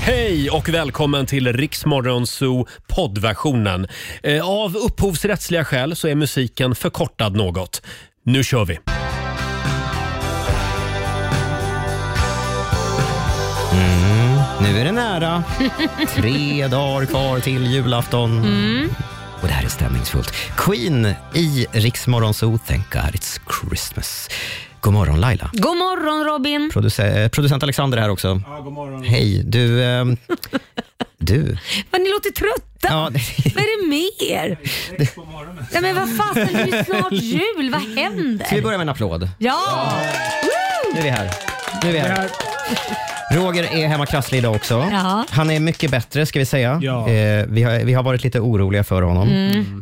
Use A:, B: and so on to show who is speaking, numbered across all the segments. A: Hej och välkommen till Riksmorgonzoo poddversionen. Eh, Av upphovsrättsliga skäl så är musiken förkortad något. Nu kör vi!
B: Mm. Nu är det nära. Tre dagar kvar till julafton.
C: Mm.
B: Och det här är stämningsfullt. Queen i Riksmorgon Zoo, Thank God It's Christmas. God morgon Laila.
C: God morgon Robin!
B: Produce- eh, producent Alexander här också. Hej, du... ehm, du.
C: Vad ni låter trötta.
B: Ja,
C: Vad är det med er? Nej men vad fasen, det är ju snart jul. Vad
B: ska vi
C: händer?
B: börja med en applåd?
C: Ja!
B: Nu är vi här. Nu är vi här. Roger är hemma krasslig idag också.
C: Ja.
B: Han är mycket bättre ska vi säga.
D: Ja.
B: Eh, vi, har, vi har varit lite oroliga för honom.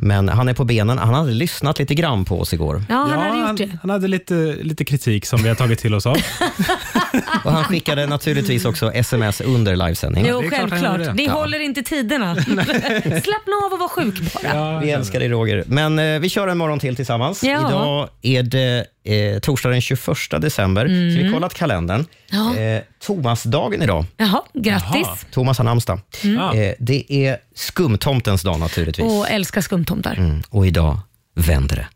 B: Men han är på benen. Han hade lyssnat lite grann på oss igår.
C: Mm. Ja, han
D: Ja,
C: hade gjort
D: han,
C: det.
D: han hade lite, lite kritik som vi har tagit till oss av.
B: Och han skickade naturligtvis också sms under livesändning.
C: Jo,
D: det är klart han
C: självklart.
D: gjorde
C: Det
D: det.
C: håller inte tiderna. Slappna av och var sjuk bara.
B: Vi älskar dig Roger. Men eh, vi kör en morgon till tillsammans.
C: Ja.
B: Idag är det eh, torsdag den 21 december. Så vi har kollat kalendern.
C: Mm. Ja.
B: Eh, Tomasdagen idag.
C: Jaha, grattis.
D: Jaha.
B: Thomas har namnsdag.
C: Mm.
D: Ah.
B: Eh, det är skumtomtens dag naturligtvis.
C: Och älskar skumtomtar.
B: Mm. Och idag vänder det.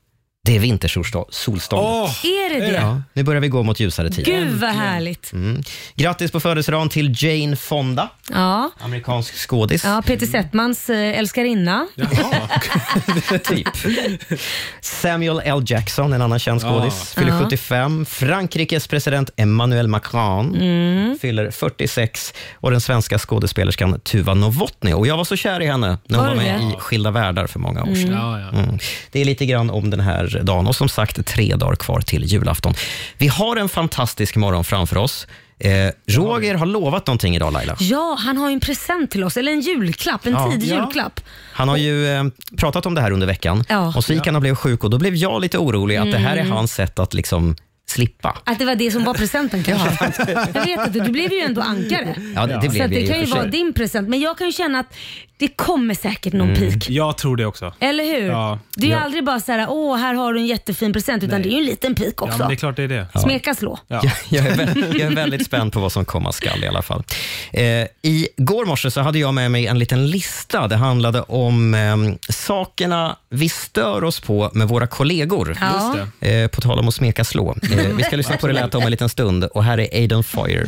B: Det är vintersolstånd.
D: Åh,
C: Är det det?
B: Ja, nu börjar vi gå mot ljusare tider.
C: Gud vad härligt.
B: Mm. Grattis på födelsedagen till Jane Fonda,
C: Ja.
B: amerikansk skådis.
C: ja, Peter Settmans eh, älskarinna.
B: typ. Samuel L. Jackson, en annan känd skådis, fyller 75. Frankrikes president Emmanuel Macron
C: Mm.
B: fyller 46. Och den svenska skådespelerskan Tuva Novotny. Och jag var så kär i henne när hon
C: Var
B: var
C: du
B: med
C: det?
B: i Skilda världar för många år sedan.
D: Ja, ja.
B: Mm. Det är lite grann om den här dagen och som sagt tre dagar kvar till julafton. Vi har en fantastisk morgon framför oss. Eh, Roger har lovat någonting idag Laila.
C: Ja, han har ju en present till oss, eller en julklapp, en
B: Ja.
C: tidig
D: Ja.
C: julklapp.
B: Han har ju eh, pratat om det här under veckan
C: Ja. Mm.
B: och så gick han och blev sjuk och då blev jag lite orolig att det här är hans sätt att liksom slippa.
C: Att det var det som var presenten kanske. jag vet inte, du blev ju ändå ankare.
B: Ja, det, det
C: Så
B: blev
C: att
B: det
C: det
B: i
C: kan ju
B: och för
C: vara
B: sig.
C: din present, men jag kan ju känna att det kommer säkert
B: Mm.
C: någon pik.
D: Jag tror det också.
C: Eller hur?
D: Ja.
C: Det är ju aldrig bara så här, åh här har du en jättefin present, utan det är ju en liten pik
D: Ja,
C: också.
D: men det är klart det är det.
C: Smeka slå.
D: Ja.
B: Jag, jag, är väldigt, jag är väldigt spänd på vad som komma skall i alla fall. Eh, I går morse så hade jag med mig en liten lista. Det handlade om eh, sakerna vi stör oss på med våra kollegor.
C: Ja.
D: Just
B: Eh, på tal om att smeka slå. Eh, vi ska lyssna på det lät om en liten stund och här är Aiden Fire.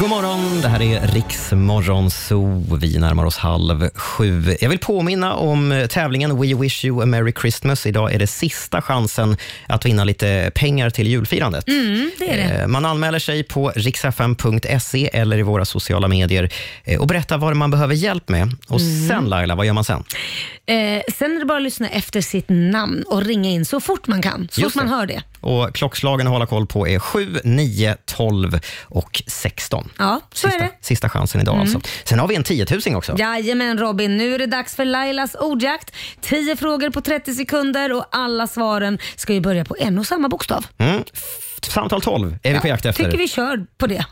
B: God morgon, det här är Riksmorgon Zoo. Vi närmar oss halv sju. Jag vill påminna om eh, tävlingen We Wish You a Merry Christmas. Idag är det sista chansen att vinna lite pengar till julfirandet.
C: Mm, det är det.
B: Eh, Man anmäler sig på riksfm.se eller i våra sociala medier eh, och berättar vad man behöver hjälp med. Och
C: Mm.
B: sen Laila, vad gör man sen?
C: Eh, sen är det bara att lyssna efter sitt namn och ringa in så fort man kan. Så fort
B: Just
C: man
B: det.
C: hör det.
B: Och klockslagen att hålla koll på är 7, 9, 12 och 16.
C: Ja, så är
B: Sista,
C: det.
B: sista chansen
C: Mm.
B: idag alltså. Sen har vi en 10 000 också.
C: Jajamän Robin, nu är det dags för Lailas ordjakt. 10 frågor på 30 sekunder och alla svaren ska ju börja på en och samma bokstav.
B: Mm. F- Samtal 12 är vi på jakt efter.
C: Tycker vi kör på det.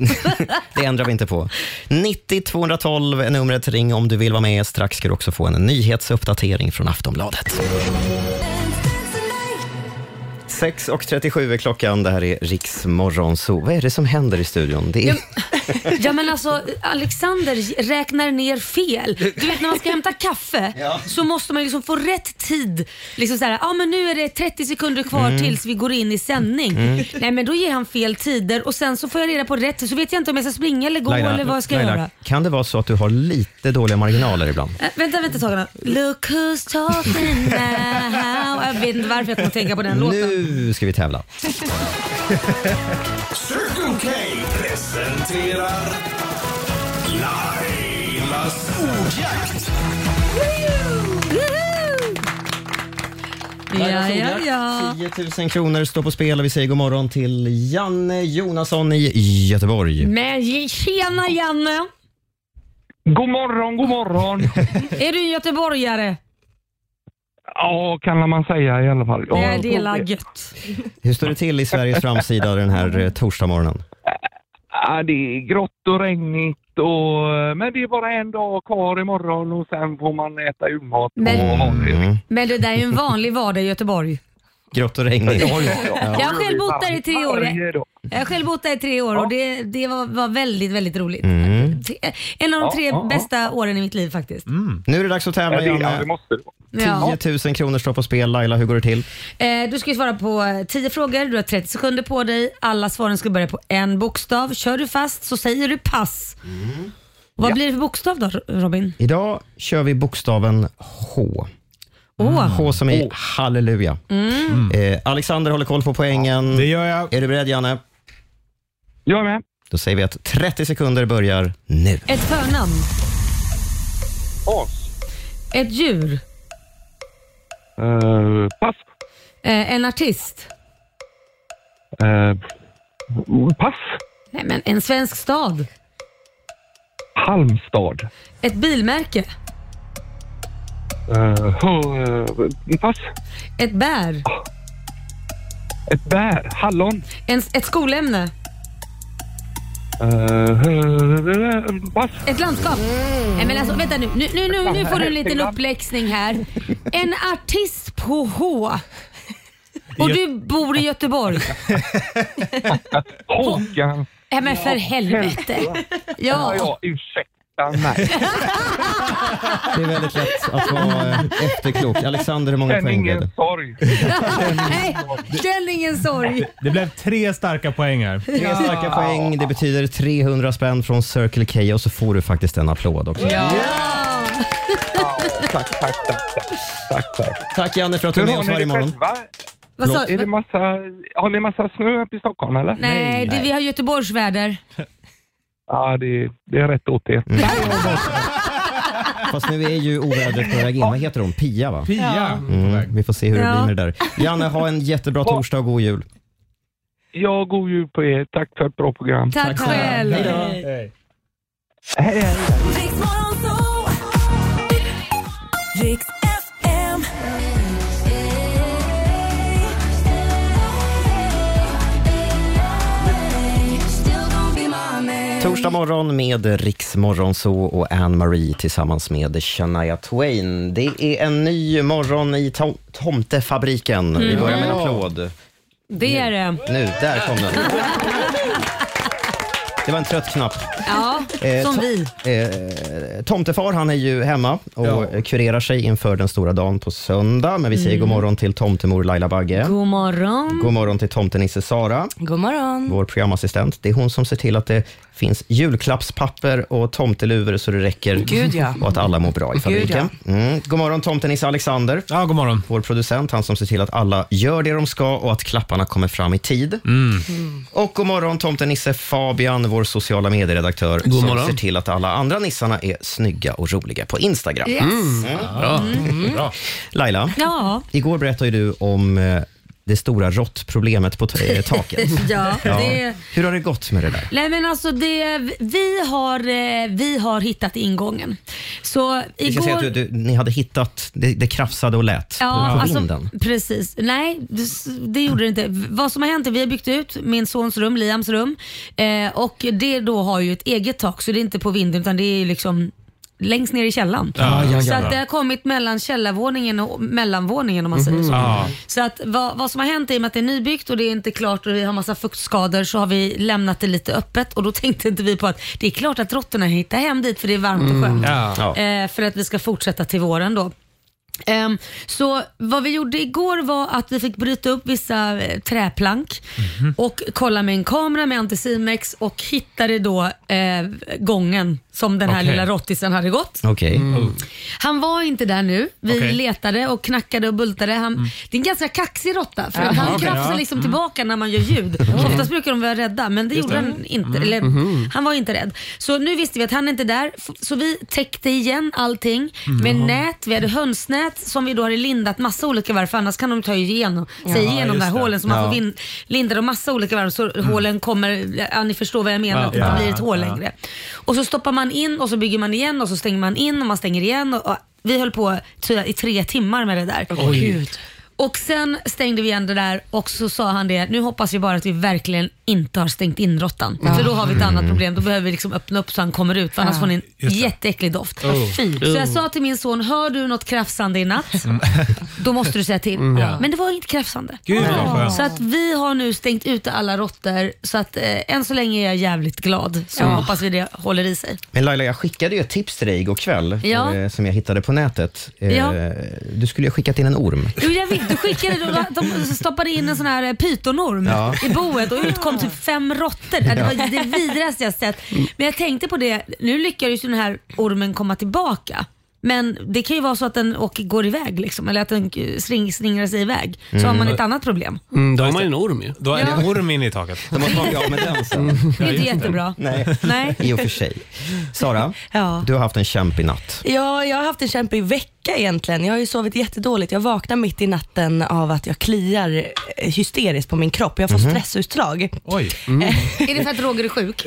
B: Det ändrar vi inte på. 90 212 är numret. Ring om du vill vara med. Strax ska du också få en nyhetsuppdatering från Aftonbladet. 6.37 är klockan. Det här är Riksmorgon. Så vad är det som händer i studion? Det är...
C: ja men alltså Alexander räknar ner fel. Du vet när man ska hämta kaffe så måste man liksom få rätt tid. Liksom så här, ja men nu är det 30 sekunder kvar
B: Mm.
C: tills vi går in i sändning. Nej men då ger han fel tider och sen så får jag reda på rätt tid så vet jag inte om jag ska springa eller gå eller vad jag ska
B: Laila,
C: göra.
B: kan det vara så att du har lite dåliga marginaler ibland?
C: Äh, vänta, vänta ett tag nu. Look who's talking now. Jag vet inte varför jag kommer att tänka på den låten.
B: Nu ska vi tävla.
E: Circle K presenterar Lailas ordjakt.
C: Woohoo! Ja, ja, ja.
B: 10 000 kronor står på spel och vi säger god morgon till Janne Jonasson i Göteborg.
C: Men tjena Janne!
F: God morgon, god morgon.
C: Är du en göteborgare?
F: ja, kan man säga i alla fall. Ja,
C: Nej, det är
F: så-
C: la gött.
B: Hur står det till i Sveriges framsida den här eh, torsdagmorgonen?
F: Ja, det är grått och regnigt och, men det är bara en dag kvar imorgon och sen får man äta julmat.
C: Men-
F: och ha det.
B: Mm.
C: Men det där är ju en vanlig vardag i Göteborg.
B: Grått och regnigt.
C: Jag har själv bott där i tre år.
F: Varje dag.
C: Jag har själv bott där i tre år och det, det var, var väldigt, väldigt
B: Mm.
C: roligt. En av de tre bästa åren i mitt liv faktiskt.
B: Nu är det dags att tävla
F: Det, ja, det
B: igen.
F: måste det vara.
C: Ja.
B: 10 000 kronor står på spel. Laila, hur går det till?
C: Eh, Du ska ju svara på eh, 10 frågor, du har 30 sekunder på dig. Alla svaren ska börja på en bokstav. Kör du fast så säger du pass.
B: Mm.
C: Vad blir det för bokstav då Robin?
B: Idag kör vi bokstaven H.
C: Åh,
B: Mm, H som i halleluja.
C: Mm.
B: Eh, Alexander håller koll på poängen.
D: Mm. Det gör jag.
B: Är du beredd, Janne?
F: Jag är med.
B: Då säger vi att 30 sekunder börjar nu.
C: ett förnamn,
F: As.
C: ett djur,
F: Eh, pass.
C: eh, en artist,
F: Eh, pass.
C: Nej, men en svensk stad,
F: Halmstad.
C: ett bilmärke,
F: Eh, hö- eh, pass.
C: ett bär,
F: Ett bär. Hallon.
C: en, ett skolämne,
F: Eh, eh, pass.
C: ett landskap.
B: Mm.
C: Nej, men alltså, vänta nu. Nu, nu, nu, nu får du en liten uppläxning här. En artist på H. Och du bor i Göteborg.
F: Håkan.
C: Nej men för helvete.
F: Ja,
C: Ja.
F: ja, ursäkta mig.
B: Det är väldigt lätt att vara eh, efterklok. Alexander, hur många
F: Känn
B: poäng blev
F: ingen
B: det?
F: sorg.
C: Nej, känn ingen sorg.
D: Det blev tre starka poäng här.
B: Tre starka poäng. Det betyder 300 spänn från Circle K och så får du faktiskt en applåd också.
F: Tack, tack, tack. tack, tack, tack.
B: Tack Janne för att du är med oss varje morgon.
F: själva?
C: Vad sa
F: Är det massa, har ni massa snö uppe i Stockholm eller?
C: Nej, det, vi har Göteborgsväder.
F: Ja, det, det är rätt åt er.
C: Mm.
B: Fast nu är ju ovädret på väg in. Vad heter hon? Pia va?
D: Pia.
B: Mm, vi får se hur det
C: Ja.
B: blir med det där. Janne, ha en jättebra torsdag och god jul.
F: Jag går ju på er. Tack för ett bra program.
C: Tack, själv.
D: Hej.
G: Riks FM.
B: Torsdag morgon med Riksmorgon så och Anne-Marie tillsammans med Shania Twain. Det är en ny morgon i tom- tomtefabriken. Vi börjar med en applåd.
C: Det är det.
B: Nu, där kom den. Det var en trött knapp.
C: Ja, som
B: Eh, to-
C: vi.
B: Eh, tomtefar han är ju hemma och kurerar sig inför den stora dagen på söndag. Men vi säger
G: Mm.
B: god morgon till tomtemor Laila Bagge.
C: God morgon.
B: God morgon till tomtenisse Sara,
G: God morgon.
B: vår programassistent. Det är hon som ser till att det finns julklappspapper och tomteluvor så det räcker
G: Gud, ja.
B: och att alla mår bra i fabriken. Mm. God morgon tomtenisse Alexander.
D: Ja, god morgon.
B: Vår producent, han som ser till att alla gör det de ska och att klapparna kommer fram i tid.
D: Mm.
B: Mm. Och god morgon tomtenisse Fabian, vår sociala medieredaktör, som
A: morgon.
B: ser till att alla andra nissarna är snygga och roliga på Instagram. Mm.
C: Yes.
D: Mm.
C: Mm.
A: Bra. Bra.
B: Laila,
C: Ja.
B: igår berättade ju du om eh, det stora råttproblemet på t- eh, taket.
C: Ja, det...
B: Hur har det gått med det där?
C: Nej men alltså det, vi, har, eh, vi har hittat ingången. Så
B: Vi ska säga
C: igår...
B: att du, du, ni hade hittat, det, det krafsade och lät på
C: alltså-
B: vinden.
C: precis. Nej, det, det gjorde det inte. Vad som har hänt är att vi har byggt ut min sons rum, Liams rum. Eh, och det då har ju ett eget tak så det är inte på vinden utan det är ju liksom längst ner i källaren.
D: Ja, ja, ja,
C: så
D: ja.
C: att det har kommit mellan källarvåningen och mellanvåningen om man säger så.
D: Mhm. Ja.
C: Så att vad, vad som har hänt är att det är nybyggt och det är inte klart och vi har massa fuktskador så har vi lämnat det lite öppet och då tänkte inte vi på att det är klart att råttorna hittar hem dit för det är varmt och skönt.
D: Mm. Ja.
B: Ja.
C: Eh, för att vi ska fortsätta till våren då. Ehm, så vad vi gjorde igår var att vi fick bryta upp vissa eh, träplank och kolla med en kamera med Anticimex och hittade då eh, gången som den här
D: Okej.
C: lilla rottisen hade gått.
B: Okej. Mm.
C: Han var inte där nu. Vi
D: Okej.
C: letade och knackade och bultade. Han, Det är en ganska kaxig råtta för att han
D: okej,
C: krafsar
D: ja. Mm.
C: liksom tillbaka när man gör ljud. Oftast brukar de vara rädda men det gjorde han inte.
D: Mm.
C: Eller,
D: Mm-hmm.
C: Han var inte rädd. Så nu visste vi att han är inte där f- så vi täckte igen allting
D: Mm.
C: med nät. Vi hade hönsnät som vi då hade lindat massa olika varv för annars kan de ta igenom, sig igenom de här
D: just det. Mm.
C: hålen så man får vin- linda dem massa olika varv så hålen kommer, ja, ni förstår vad jag menar,
D: Ja,
C: att det
D: ja,
C: blir ett hål
D: ja.
C: längre längre. Och så stoppar man in och så bygger man igen och så stänger man in och man stänger igen. Och, och vi höll på ty- i tre timmar med det där. Och sen stängde vi igen det där och så sa han det, nu hoppas vi bara att vi verkligen inte har stängt in råttan.
H: Ja.
C: För då har vi ett
D: Mm.
C: annat problem. Då behöver vi liksom öppna upp så han kommer ut, för annars får ni en jätteäcklig doft.
D: Oh.
H: fint.
C: Så jag sa till min son, hör du något krafsande i natt,
D: Mm.
C: då måste du säga till.
H: Ja.
C: Men det var inget krafsande.
D: Gud, vad skönt.
C: Så att vi har nu stängt ute alla råttor, så att eh, än så länge är jag jävligt glad. Så hoppas vi det håller i sig.
B: Men Laila, jag skickade ju ett tips till dig igår kväll
C: Ja.
B: eh, som jag hittade på nätet. Eh,
C: Ja.
B: Du skulle ju ha skickat in en orm.
C: Jo, jag vet, du skickade, du, de stoppade in en sån här eh, pytonorm
B: Ja.
C: i boet och ut kom typ fem råttor. Ja, Det var det vidrigaste jag sett. Men jag tänkte på det, nu lyckades ju den här ormen komma tillbaka. Men det kan ju vara så att den åker, går iväg liksom, eller att den eh, sling, slingrar sig iväg. Så har man ett annat problem.
H: Mm, då har man ju en orm ju.
D: Då är det
C: Ja.
D: orm inne i taket.
B: Då måste man bli av med den sen.
C: Det är inte jättebra.
B: Nej.
C: Nej.
B: I och för sig. Sara,
H: Ja.
B: du har haft en kämp i natt.
H: Ja, jag har haft en kämpig vecka egentligen. Jag har ju sovit jättedåligt. Jag vaknar mitt i natten av att jag kliar eh, hysteriskt på min kropp. Jag får stressutdrag.
D: Oj.
C: Är det för att Roger är sjuk?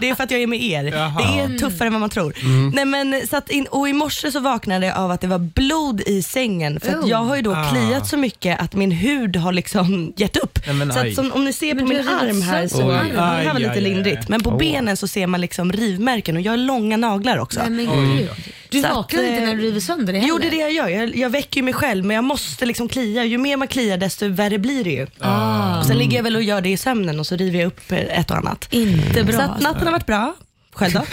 H: Det är för att jag är med er. Det
C: Mm.
H: är tuffare än vad man tror.
D: Mm.
H: Nej, men, så att in, och i morse så vaknade jag av att det var blod i sängen. För att
C: Oh.
H: jag har ju då
D: Ah.
H: kliat så mycket att så att min hud har liksom gett upp.
D: Nej, men
H: så att
D: aj.
H: som, om ni ser på
C: Men
H: min
C: du har
H: arm här
C: rivit
H: så
C: sönder
H: aj,
C: armen.
H: det här var
D: Aj,
H: lite
D: aj, aj. Oh.
H: lindrigt. Men på benen så ser man liksom rivmärken och jag har långa naglar också.
C: Nej, men gud. Du
H: Så att,
C: vaknar inte
H: eh,
C: när du river sönder det
H: Jo, det
C: heller?
H: är det jag gör. Jag, jag väcker ju mig själv men jag måste liksom klia. Ju mer man kliar desto värre blir det ju.
D: Ah.
H: Och sen ligger jag väl och gör det i sömnen och så river jag upp eh, ett och annat.
C: Inte bra.
H: Så att natten har varit bra. Själv då?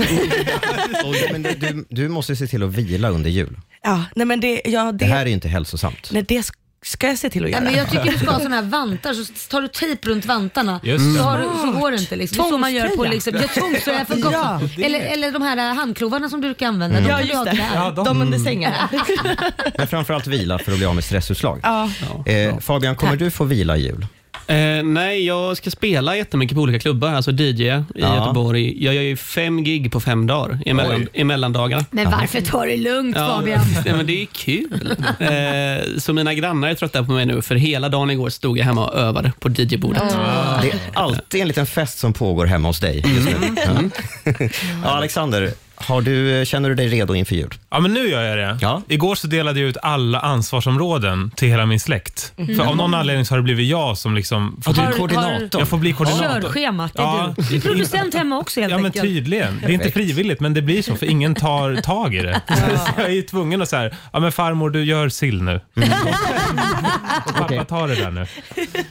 B: Men du, du, du måste se till att vila under jul.
H: ja, nej men det, ja,
B: Det
H: det,
B: här är ju inte hälsosamt.
H: nej, det sk- ska jag se till att
C: Ja,
H: göra.
C: men jag tycker du ska ha såna här vantar, så tar du tejp runt vantarna
D: Just
C: så,
D: det.
C: har, du- så går det inte. Liksom. Det är så man gör på
H: Tvångströja.
C: liksom, ja, tvångströja för gott. eller, eller de här äh, handklovarna som du brukar använda. De
H: Ja,
C: kan du
H: just
C: ha till det
H: det.
C: här.
D: Ja,
H: de,
D: de-
H: under sängen.
B: Men framförallt vila för att bli av med stressutslag.
H: ja.
B: Eh, Fabian, kommer du få vila i jul?
I: Eh, nej, jag ska spela jättemycket på olika klubbar, alltså DJ i
B: Ja.
I: Göteborg. Jag gör ju fem gig på fem dagar i mellan- i mellandagarna.
C: Men varför ta det lugnt Fabian?
I: nej, men det är kul. Eh, så mina grannar är trötta på mig nu, för hela dagen igår stod jag hemma och övade på DJ-bordet.
B: Det är alltid en liten fest som pågår hemma hos
H: Mm.
B: dig just nu. Ja. Ja, Alexander, har du, eh, känner du dig redo inför jul?
D: Ja, men nu gör jag det.
B: Ja.
D: Igår så delade jag ut alla ansvarsområden till hela min släkt.
C: Mhm.
D: För av någon anledning så har det blivit jag som liksom...
B: du är
C: Har-
B: koordinator.
D: Jag får bli koordinator.
C: Körschemat, det är
D: Ja.
C: du. Du är producent hemma också helt
D: Ja, men
C: enkelt.
D: tydligen. Det är inte frivilligt, men det blir så, för ingen tar tag i det. Så jag är ju tvungen att säga, ja men farmor, du gör sill nu. Och pappa tar det där nu.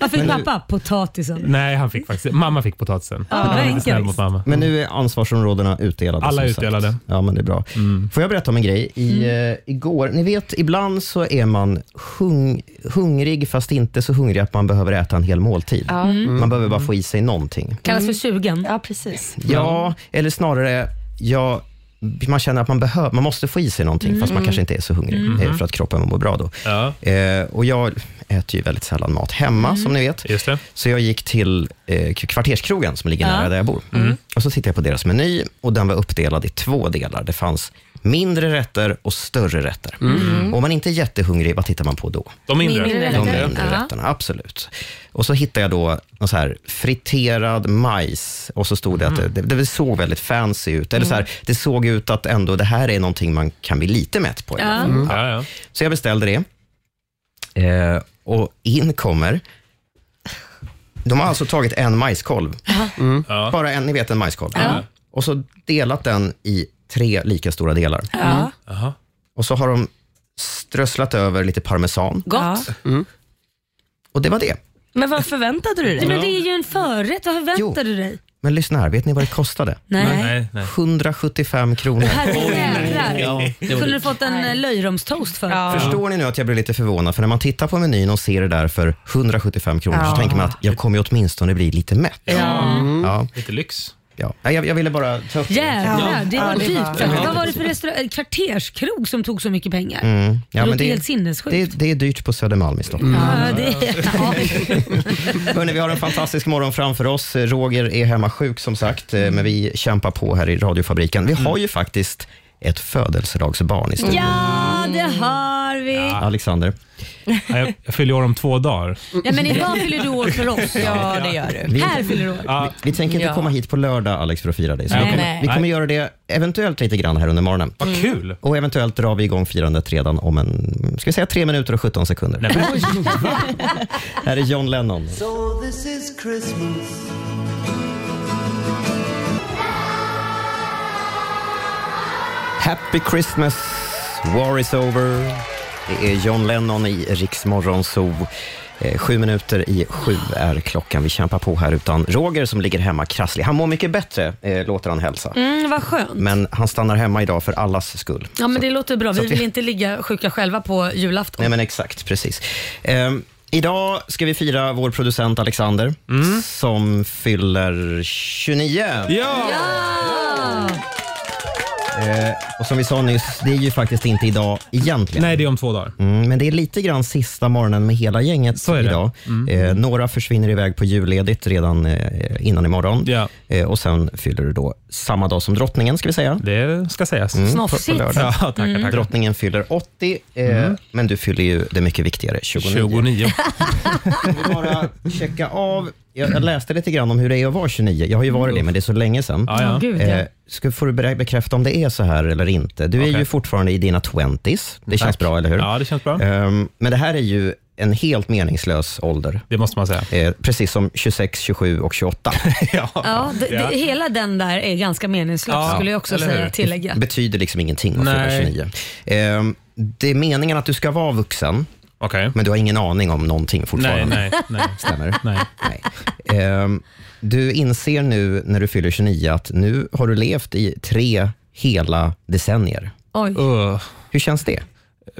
C: Vad fick pappa? Potatisen.
D: Nej, han fick faktiskt, mamma fick potatisen.
C: Ja,
D: han var lite
C: enkelt.
D: snäll mot mamma.
B: Men nu är ansvarsområdena utdelade.
D: Alla är
B: som sagt.
D: utdelade. Mm.
B: Ja, men det är bra. Får jag berätta om en grej? I, eh, igår, ni vet, ibland så är man hung, hungrig, fast inte så hungrig att man behöver äta en hel måltid. Man behöver bara få i sig någonting.
C: Kallas för sugen.
H: ja, precis.
B: Ja,
D: Mm.
B: eller snarare, ja, man känner att man, behöver, man måste få i sig någonting, fast man kanske inte är så hungrig, eh, för att kroppen mår bra då.
D: Mm. Ja. Mm.
B: Eh, och jag äter ju väldigt sällan mat hemma, som ni vet.
D: Just det.
B: Så jag gick till eh, k- kvarterskrogen som ligger nära där jag bor.
D: Mm.
B: Och så tittade jag på deras meny och den var uppdelad i två delar. Det fanns mindre rätter och större rätter. Och om man inte är jättehungrig, vad tittar man på då?
D: Mm. De mindre.
C: Mindre
D: mindre.
C: rätter.
B: De
C: Rätter.
B: mindre
C: Ja.
B: rätterna, absolut. Och så hittade jag då någon så här friterad majs och så stod det att
D: Mm.
B: det, det, det såg väldigt fancy ut. Eller så här, det såg ut att ändå det här är någonting man kan bli lite mätt på. i alla fall.
D: Ja, Mm. ja.
B: Så jag beställde det. Eh, och in kommer... De har alltså tagit en majskolv.
D: Ja. Mm.
B: Bara en, ni vet en majskolv. Och så delat den i tre lika stora delar.
C: Mm.
H: Ja.
D: Jaha.
B: Och så har de strösslat över lite parmesan.
H: Ja.
C: Gott.
B: Mm.
D: Mm.
B: Och det var det.
H: Men vad förväntade du dig?
C: Men det är ju en förrätt, vad förväntar du dig?
B: Men lyssna här, vet ni vad det kostade?
D: Nej,
C: Nej.
D: nej, nej.
B: 175 kronor.
C: Herrejävlar.
I: det var
C: Kunde du fått en eh, löjromstoast för?
H: Ja.
B: Förstår ni nu att jag blir lite förvånad? För när man tittar på menyn och ser det där för 175 kronor så
H: Ja.
B: tänker man att jag kommer ju åtminstone bli lite mätt. Ja,
D: Mm. Lite lyx.
B: ja. Nej, Jag, jag ville bara ta upp det.
C: Jävlar,
H: Ja.
C: det
H: Ja,
C: var
H: det
C: dyrt.
H: var-
C: Vad var det för restaurang? Kvarterskrog som tog så mycket pengar?
B: Mm.
C: det
B: Ja,
C: låter
B: men det,
C: helt sinnessjukt.
B: det, det är dyrt på Södermalm i Stockholm.
C: Ja, det, ja.
B: Hörrni, vi har en fantastisk morgon framför oss. Roger är hemma sjuk som sagt, eh, men vi kämpar på här i radiofabriken. Vi har
D: Mm.
B: ju faktiskt ett födelsedagsbarn i studion.
C: ja, det har vi.
B: Alexander. Mm.
D: Ja, jag, jag fyller år om två dagar.
C: Ja, men idag fyller du år för oss.
H: Ja, det gör du.
B: Vi,
C: Här fyller du år.
D: Ja,
B: vi tänker inte
H: Ja.
B: komma hit på lördag Alex för att fira dig. Så
D: Nej,
B: vi, kommer,
H: nej.
B: vi kommer
D: Nej.
B: göra det eventuellt lite grann här under morgonen.
D: vad kul!
B: Och eventuellt drar vi igång firandet redan om en, ska vi säga tre minuter och 17 sekunder. Här är John Lennon.
E: So this is Christmas.
B: Happy Christmas, war is over. Det är John Lennon i Riksmorgon Zoo. Eh, Sju minuter i sju är klockan. Vi kämpar på här utan Roger som ligger hemma krasslig. Han mår mycket bättre, eh, låter han hälsa.
C: Mm, vad skönt.
B: Men han stannar hemma idag för allas skull.
C: Ja, men det låter bra. Vi
B: att vi-
C: vill inte ligga sjuka själva på julafton.
B: Nej, men exakt, precis. Ehm, idag ska vi fira vår producent Alexander som fyller 29.
D: Ja!
C: Ah,
B: Eh, och som vi sa nyss, det är ju faktiskt inte idag egentligen.
D: Nej, det är om två dagar.
B: Mm, men det är lite grann sista morgonen med hela gänget
D: Så är det. Mm.
B: idag. Eh, några försvinner iväg på julledigt redan eh, innan imorgon.
D: Ja.
B: Eh, och sen fyller du då samma dag som drottningen, ska vi säga. Mm,
D: Det ska sägas.
C: Snofsigt.
B: lördag.
D: Ja, tackar, tackar. Mm.
B: Drottningen fyller 80, eh, men du fyller ju det mycket viktigare, 29.
D: 29.
B: vill bara checka av. Jag, jag läste lite grann om hur det är att vara 29. Jag har ju varit det, men det är så länge sedan.
D: Ja, ja.
C: Gud, ja.
B: Eh, ska, får du berä- bekräfta om det är så här eller inte? Du är
D: Okej.
B: ju fortfarande i dina 20s. Det känns bra, eller hur?
D: Ja, det känns bra.
B: Ehm, men det här är ju en helt meningslös ålder.
D: Det måste man säga.
B: Eh, precis som 26, 27 och 28.
C: Ja, det, det, hela den där är ganska meningslös
D: Ja,
C: skulle jag också
D: eller
C: säga,
D: hur?
C: tillägga.
B: betyder liksom ingenting att fylla
D: Nej.
B: 29. Ehm, det är meningen att du ska vara vuxen,
D: Okej.
B: men du har ingen aning om någonting fortfarande.
D: Nej, nej, nej.
B: Stämmer det?
D: nej.
B: Nej. Ehm, du inser nu när du fyller 29 att nu har du levt i tre hela decennier.
C: Oj.
D: Ugh,
B: Hur känns det?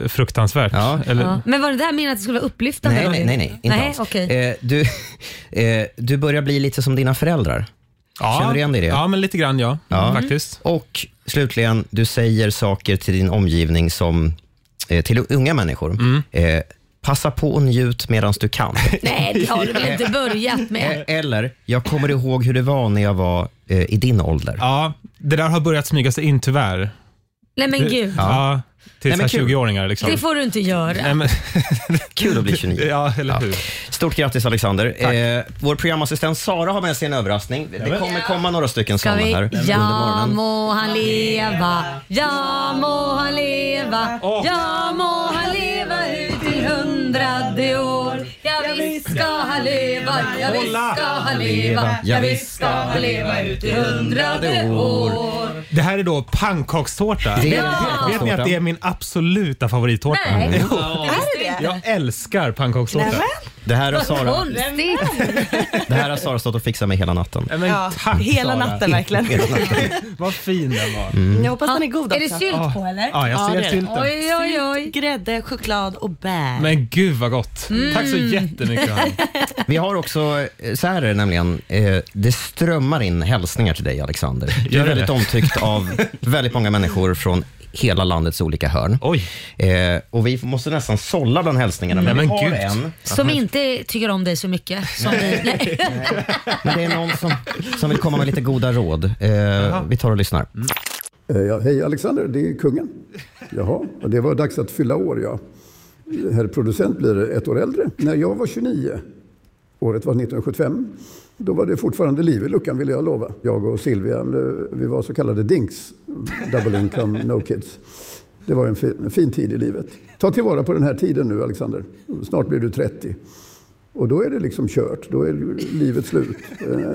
D: fruktansvärt.
B: Ja.
D: Eller,
C: Ja. Men var det där meningen att det skulle vara upplyftande?
B: Nej, nej, nej, nej, inte
C: nej
B: alls.
C: okej.
B: Eh, du, eh, du börjar bli lite som dina föräldrar.
D: Ja.
B: Känner du igen dig i det?
D: Ja, men lite grann ja.
B: Ja.
D: Mm. Faktiskt.
B: Och slutligen, du säger saker till din omgivning som eh, till unga människor.
D: Mm.
B: Eh, passa på och njut medan du kan.
C: Nej, det har du väl inte börjat med?
B: Eh, Eller, jag kommer ihåg hur det var när jag var eh, i din ålder.
D: Mm. Ja, det där har börjat smyga sig in tyvärr.
C: Nej
B: eh,
C: men gud,
D: Ja, till
B: Nej, men
D: så här
B: kul.
D: 20-åringar liksom.
C: det får du inte göra.
D: Nej, men,
B: Kul att bli 29.
D: ja, eller hur.
B: Stort grattis Alexander. Eh, vår programassistent Sara har med sig en överraskning. Det kommer komma några stycken
C: Ska
B: sådana
C: vi?
B: här under
C: Ja
B: morgonen.
C: må han leva, ja må han leva, ja må han leva ut i hundrade år. Ja visst ska han leva, ja visst ska han leva, ja visst ska han leva ut i hundrade år.
D: Det här är då pannkakstårta.
B: Det är
D: Vet- Vet ni att det är min absoluta favorittårta?
C: Nej.
D: Jo,
C: Är det
D: Jag älskar pannkakstårta. Nej,
B: Det här har Sara,
C: Konstigt.
B: det här har Sara stått och fixat med hela natten.
D: men, tack
H: Hela
D: Sara.
H: natten verkligen.
D: Vad fin den var.
B: Mm.
H: Jag hoppas den är god
C: Är det
H: också.
C: sylt på eller?
D: Ja, jag
H: Ja,
D: ser
H: det är det.
D: sylten.
C: Oj oj oj.
H: Grädde, choklad och bär.
D: Men gud vad gott.
C: Mm.
D: Tack så jättemycket. Hanna.
B: Vi har också, eh, så här är det nämligen, eh, det strömmar in hälsningar till dig Alexander. Du
D: Gör
B: är
D: det?
B: väldigt omtyckt av väldigt många människor från hela landets olika hörn.
D: Oj.
B: Eh, och vi måste nästan sålla bland hälsningarna, men,
D: Nej,
B: vi
D: men
B: har
D: gud.
B: en.
C: Som inte tycker om dig så mycket. Som vi, nej.
B: Men det är någon som, som vill komma med lite goda råd. Eh, vi tar och lyssnar.
D: Mm.
J: Eh, Ja, hej Alexander, det är kungen. Jaha, och det var dags att fylla år ja. Herr producent blir ett år äldre. När jag var 29, året var 1975, då var det fortfarande liv i luckan vill jag lova. Jag och Silvia, eh, vi var så kallade dinks, double income, no kids. Det var en fin, en fin tid i livet. Ta tillvara på den här tiden nu Alexander, snart blir du 30. Och då är det liksom kört, då är livet slut.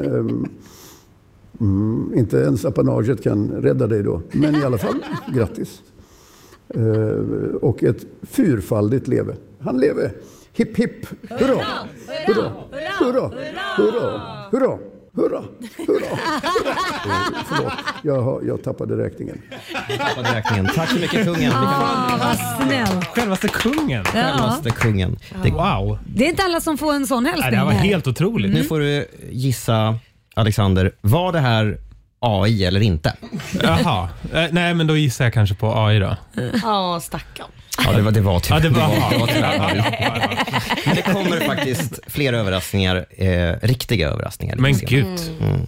J: Ehm, Mm, inte ens apanaget kan rädda dig då. Men i alla fall, grattis. Eh, och ett fyrfaldigt leve. Han lever. Hipp hipp. Hurra! Hurra! Hurra! Hurra! Hurra! Hurra! Hurra! Eh, Förlåt, jag, har- jag tappade räkningen.
B: Tappade räkningen. Tack så mycket kungen. Vi kan
C: Ah, vad snällt.
D: Självaste kungen.
C: Ja.
B: Självaste kungen. Det,
D: Wow.
C: Det är inte alla som får en sån
D: Nej,
C: hälsning.
D: det här var
C: här.
D: helt otroligt.
B: nu får du gissa, Alexander, var det här AI eller inte?
D: Jaha. Eh, Nej, men då gissar jag kanske på AI då.
H: Ja, stackarn.
B: Ja, det var, det var tyvärr.
D: Ja, det var-
B: Men det kommer faktiskt fler överraskningar, eh, riktiga överraskningar. lite
D: Men
B: senare.
D: gud.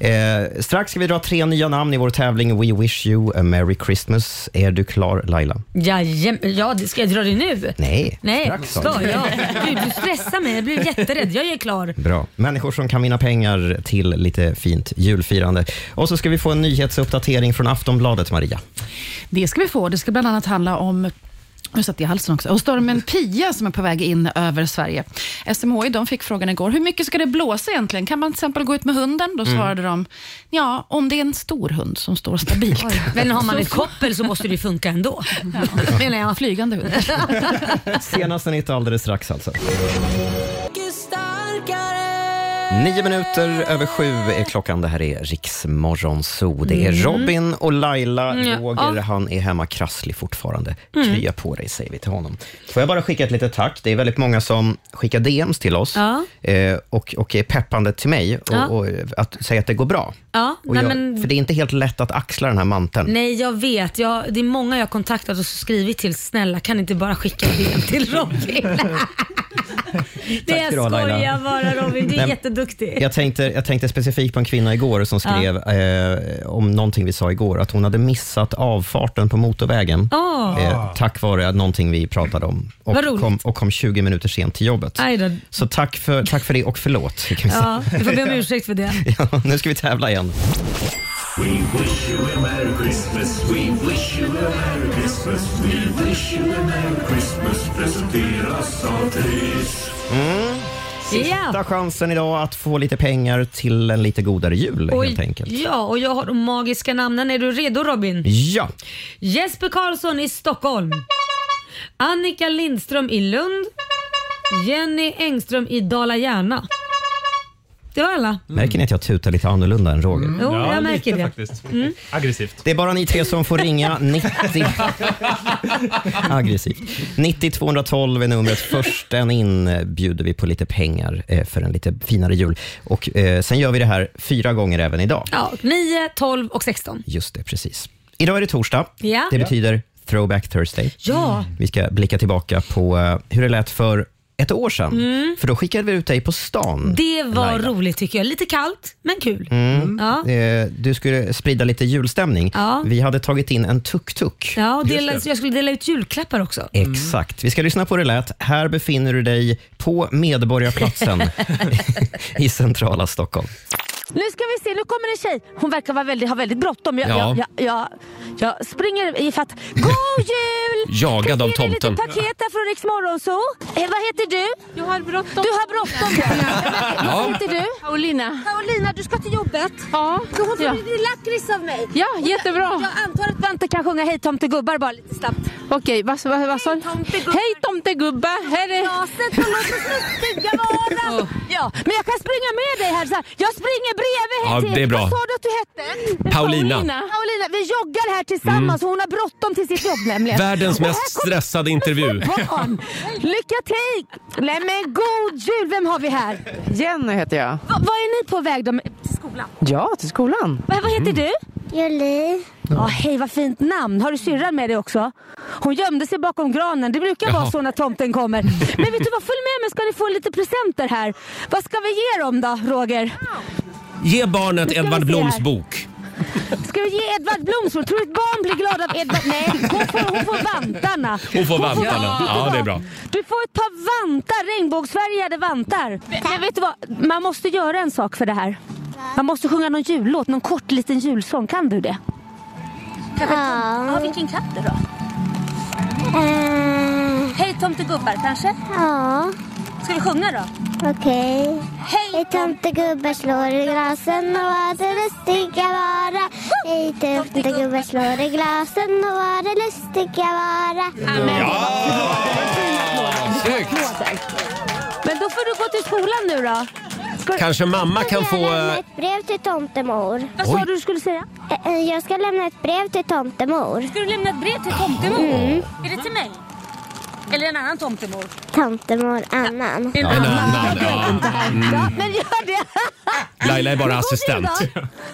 B: Mm. Eh, strax ska vi dra tre nya namn i vår tävling We wish you a merry Christmas. Är du klar Laila?
H: Jajem, ja, det- ska jag dra det nu?
B: Nej,
H: Nej,
B: strax sa
H: ska
B: du.
H: jag? Gud, du stressar mig. Jag blir jätterädd. Jag är klar.
B: Bra. Människor som kan vinna pengar till lite fint julfirande. Och så ska vi få en nyhetsuppdatering från Aftonbladet, Maria.
K: Det ska vi få. Det ska bland annat handla om nu satt jag i halsen också. Och stormen Pia som är på väg in över Sverige. SMHI de fick frågan igår, hur mycket ska det blåsa egentligen? Kan man till exempel gå ut med hunden? Då
H: Mm.
K: svarade de, ja, om det är en stor hund som står stabilt.
H: Men har man
K: Så-
H: ett koppel så måste det ju funka ändå.
K: Ja, menar jag, flygande hund.
B: Senaste nytt alldeles strax alltså. Nio minuter över sju är klockan. Det här är Riksmorgon Zoo. Det är
G: Mm.
B: Robin och Laila.
G: Mm, ja.
B: Roger, han är hemma krasslig fortfarande.
H: Mm.
B: Krya på dig, säger vi till honom. Får jag bara skicka ett litet tack? Det är väldigt många som skickar DMs till oss
H: Ja.
B: eh, och, och är peppande till mig och,
H: Ja.
B: och att säga att det går bra.
H: Ja,
B: Och
H: nej,
B: jag,
H: men,
B: För det är inte helt lätt att axla den här manteln.
H: nej, jag vet. Jag, det är många jag har kontaktat och skrivit till. Snälla, kan ni inte bara skicka ett DM till Robin? det
B: Tack
H: jag
B: för idag, Laila.
H: skojar bara Robin. Du är
B: Nej,
H: jätteduktig.
B: Jag tänkte, jag tänkte specifikt på en kvinna igår som
H: Ja.
B: skrev eh, om någonting vi sa igår, att hon hade missat avfarten på motorvägen
H: Åh.
B: eh, tack vare någonting vi pratade om och
H: Vad roligt.
B: kom, och kom 20 minuter sent till jobbet.
H: Aj då.
B: Så tack för, tack för det och förlåt. Kan vi säga.
H: Ja, du får be om ursäkt för det.
B: ja, nu ska vi tävla igen.
F: We wish you a Merry Christmas, we wish you a Merry Christmas, we wish you a Merry Christmas presenteras av Triss.
B: Mm. Sista chansen idag att få lite pengar till en lite godare jul
H: Oj,
B: helt enkelt.
H: Ja, och jag har de magiska namnen. Är du redo Robin?
B: Ja.
H: Jesper Karlsson i Stockholm. Annika Lindström i Lund. Jenny Engström i Dala-Järna. Det var alla.
B: Märker ni att jag tutar lite annorlunda än Roger?
H: Mm. Jo, Ja, jag märker lite det.
D: faktiskt.
H: Mm.
D: Aggressivt.
B: Det är bara ni tre som får ringa 90... Aggressivt. 90 212 är numret. Först en in eh, bjuder vi på lite pengar eh, för en lite finare jul. Och eh, Sen gör vi det här fyra gånger även idag.
H: Ja, 9, 12 och 16.
B: Just det, precis. Idag är det torsdag.
H: Ja.
B: Det
H: Ja.
B: betyder Throwback Thursday.
H: Ja.
B: Vi ska blicka tillbaka på eh, hur det lät för ett år sedan.
H: Mm.
B: För då skickade vi ut dig på stan.
H: Det var
B: Laila.
H: roligt tycker jag. Lite kallt, men kul.
B: Mm.
H: Ja.
B: Eh, Du skulle sprida lite julstämning.
H: Ja.
B: Vi hade tagit in en tuk-tuk.
H: Ja, och
B: Just
H: dela,
B: det.
H: jag skulle dela ut julklappar också.
C: Mm.
B: Exakt. Vi ska lyssna på hur det lät. Här befinner du dig på Medborgarplatsen i centrala Stockholm.
C: Nu ska vi se, nu kommer en tjej. Hon verkar vara väldigt, ha väldigt bråttom. Jag,
A: Ja.
C: jag, jag, jag, jag springer ifatt. God jul!
A: Jagad av
C: Kan ge dig
A: tomten.
C: lite paket här från Rix Morgonzoo. Eh, vad heter du? Jag har bråttom. Du har bråttom, ja.
A: Ja.
C: Vad heter du? Paulina. Paulina, du ska till jobbet. Ja. Du har fått
L: Ja.
C: lite lakrits av mig.
L: Ja,
C: Och jag-
L: jättebra.
C: Jag antar att Bente kan sjunga Hej tomtegubbar bara lite snabbt.
L: Okej, vad vad- vad sa du? Hej tomtegubbar! Här är...
C: Glaset och låt oss lustiga vara. Ja, men jag kan springa med dig här. Så här. Jag springer bredvid här
A: Ja,
C: till.
A: det är bra.
C: Vad sa du att du hette?
A: Paulina. Mm.
C: Paulina, vi joggar här tillsammans och hon har bråttom till sitt jobb nämligen.
A: Världens
C: Och här
A: mest
C: kommer
A: stressade intervju.
C: barn. Lycka till! Nej men god jul! Vem har vi här?
L: Jenny heter jag.
C: Va, vad är ni på väg då? med- Till skolan?
L: Ja, till skolan.
C: Va, vad
A: Mm.
C: heter du? Julie. Ja, hej vad fint namn. Har du syrran med dig också? Hon gömde sig bakom granen. Det brukar vara
L: Jaha.
C: så när tomten kommer. Men vet du vad, följ med mig ska ni få lite presenter här. Vad ska vi ge dem då, Roger?
A: Ge barnet
C: Nu ska vi
A: Edvard
C: se
A: Bloms
C: här.
A: bok.
C: Ska vi ge Edvard Blomström? Tror du ett barn blir glad av Edvard? Nej, hon får, hon får vantarna.
A: Hon får vantarna.
C: Vet du
A: Ja,
C: vad?
A: det är bra.
C: Du får ett par vantar, regnbågsfärgade vantar. Men vet du vad? Man måste göra en sak för det här. Man måste sjunga någon jullåt, någon kort liten julsång. Kan du det? Kanske en tom- Ja. Vilken katt det då?
L: Mm.
C: Hej tomtegubbar kanske? Ja. Ska vi sjunga då?
M: Okej. Hej tomtegubbar slår i glasen och vad det lustiga vara. Hej tomtegubbar slår i glasen och vad det lustiga vara.
A: Snyggt!
C: Men då får du gå till skolan nu då. Ska...
A: Kanske mamma kan få... eh,
M: Ett brev till tomtemor. Eh,
C: Vad sa du du skulle säga?
M: Jag ska lämna ett brev till tomtemor.
C: Ska du lämna ett brev till tomtemor?
M: Mm.
C: Är det till mig? Eller en annan tomtemor?
M: Tomtemor annan.
C: En
A: annan, ja.
C: Ja,
A: Mm.
C: men gör det!
A: Laila är bara assistent.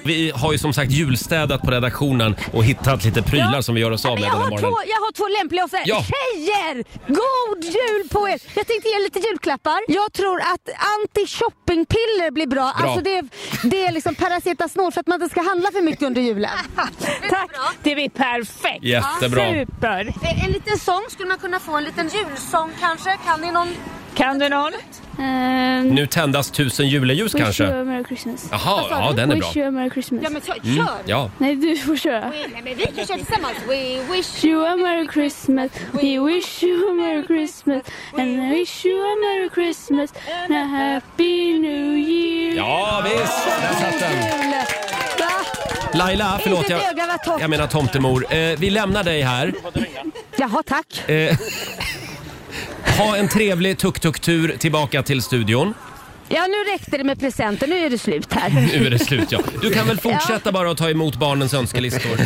A: Vi har ju som sagt julstädat på redaktionen och hittat lite prylar som vi gör oss av med
N: Jag
A: den här
N: har,
A: morgonen.
N: två, jag har två lämpliga offer.
A: Ja.
N: Tjejer! God jul på er! Jag tänkte ge lite julklappar. Jag tror att anti-shoppingpiller blir bra.
L: Bra.
N: Alltså det, är- det är liksom paracetasnol för att man inte ska handla för mycket under julen. Tack! Det blir perfekt!
L: Jättebra.
N: Super! Eh, En liten sång, skulle man kunna få en liten julsång kanske? Kan ni någon? Kan du någon?
A: Nu tändas tusen juleljus kanske?
N: Merry Christmas.
A: Jaha, ja, den är bra.
L: Wish you a Merry Christmas. Ja, men kör!
A: Mm, ja.
L: Nej, du får köra.
N: Nej, men vi kan köra tillsammans. We wish
L: you a Merry Christmas. We wish you a Merry Christmas. And I wish you a Merry Christmas. And a Happy New Year.
A: Ja, visst! Där satt den.
N: Va?
A: Laila, förlåt.
N: Inte
A: Jag,
N: ett öga var torrt.
A: jag menar tomtemor. Eh, vi lämnar dig här.
N: Jaha, tack.
A: Eh, ha en trevlig tuk-tuk-tur tillbaka till studion.
N: Ja, nu räckte det med presenter. Nu är det slut här.
A: Nu är det slut ja. Du kan väl fortsätta bara att ta emot barnens önskelistor.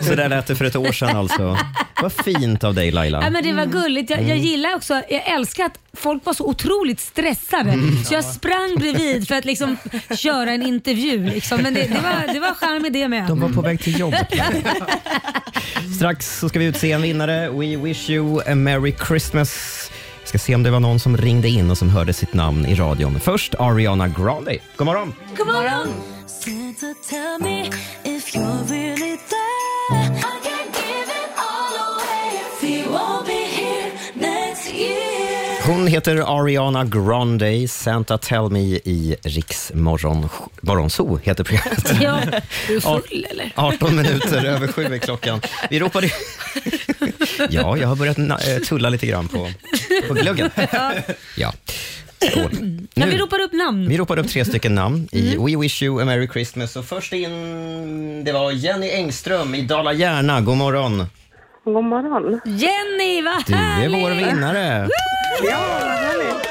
B: Så där lät det för ett år sedan alltså. Vad fint av dig Laila.
C: Ja, men det var gulligt. Jag, jag
B: Mm.
C: gillar också, jag älskar att folk var så otroligt stressade
B: Mm.
C: så jag sprang bredvid för att liksom köra en intervju. Liksom. Men det, det var, det var charm i det med.
B: De var på väg till jobbet. Strax så ska vi utse en vinnare. We wish you a merry Christmas. Jag ska se om det var någon som ringde in och som hörde sitt namn i radion. Men Först Ariana Grande. God morgon!
L: God morgon! Santa, tell me if you're really there. I can give it all away if you won't be here next year.
B: Hon heter Ariana Grande. Santa Tell Me i Riks morgon, morgonzoo heter programmet.
C: Ja, du är
B: Ar-
C: full eller?
B: 18 minuter över sju är klockan. Vi ropade... Ja, jag har börjat na- eh, tulla lite grann på, på gluggen. Ja. Skål.
C: Ja, vi
B: Nu.
C: ropar upp namn.
B: Vi ropade upp tre stycken namn i We Wish You A Merry Christmas. Och först in, det var Jenny Engström i Dala-Järna. God morgon.
O: God morgon.
C: Jenny, vad
B: Du är vår
C: härligt!
B: vinnare.
O: Ja, vad härligt.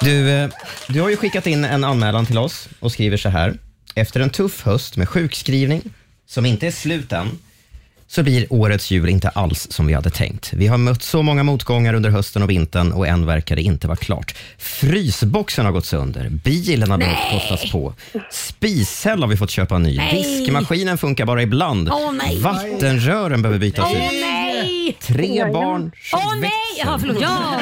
B: Du, eh, du har ju skickat in en anmälan till oss och skriver så här. Efter en tuff höst med sjukskrivning, som inte är slut än, så blir årets jul inte alls som vi hade tänkt. Vi har mött så många motgångar under hösten och vintern och än verkar det inte vara klart. Frysboxen har gått sönder, bilen har behövt
L: Nej.
B: kostas på, spishäll har vi fått köpa en ny,
L: Nej.
B: diskmaskinen funkar bara ibland,
L: Åh, nej.
B: vattenrören behöver bytas
L: Åh,
B: ut.
C: nej!
B: Tre barn
C: Åh nej! Ja, förlåt. Ja.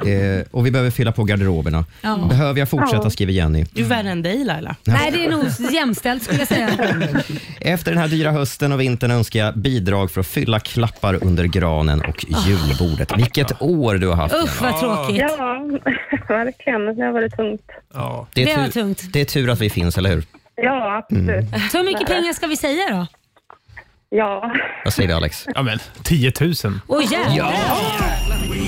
B: Ja, eh, och vi behöver fylla på garderoberna.
C: Ja.
B: Behöver jag fortsätta,
C: Ja.
B: skriver Jenny.
H: Du är värre än dig Laila.
C: Nej, det är nog jämställt skulle jag säga.
B: Efter den här dyra hösten och vintern önskar jag bidrag för att fylla klappar under granen och julbordet. Vilket år du har haft.
C: Ah. Usch vad tråkigt.
O: Ja, verkligen. Det har varit tungt.
B: Ja.
C: Det var
B: tur-
C: tungt.
B: Det är tur att vi finns, eller hur?
O: Ja, absolut.
B: Mm.
C: Så hur mycket pengar ska vi säga då?
O: Ja.
B: Vad säger vi, Alex?
D: Ja, men 10 000.
C: Åh jävlar!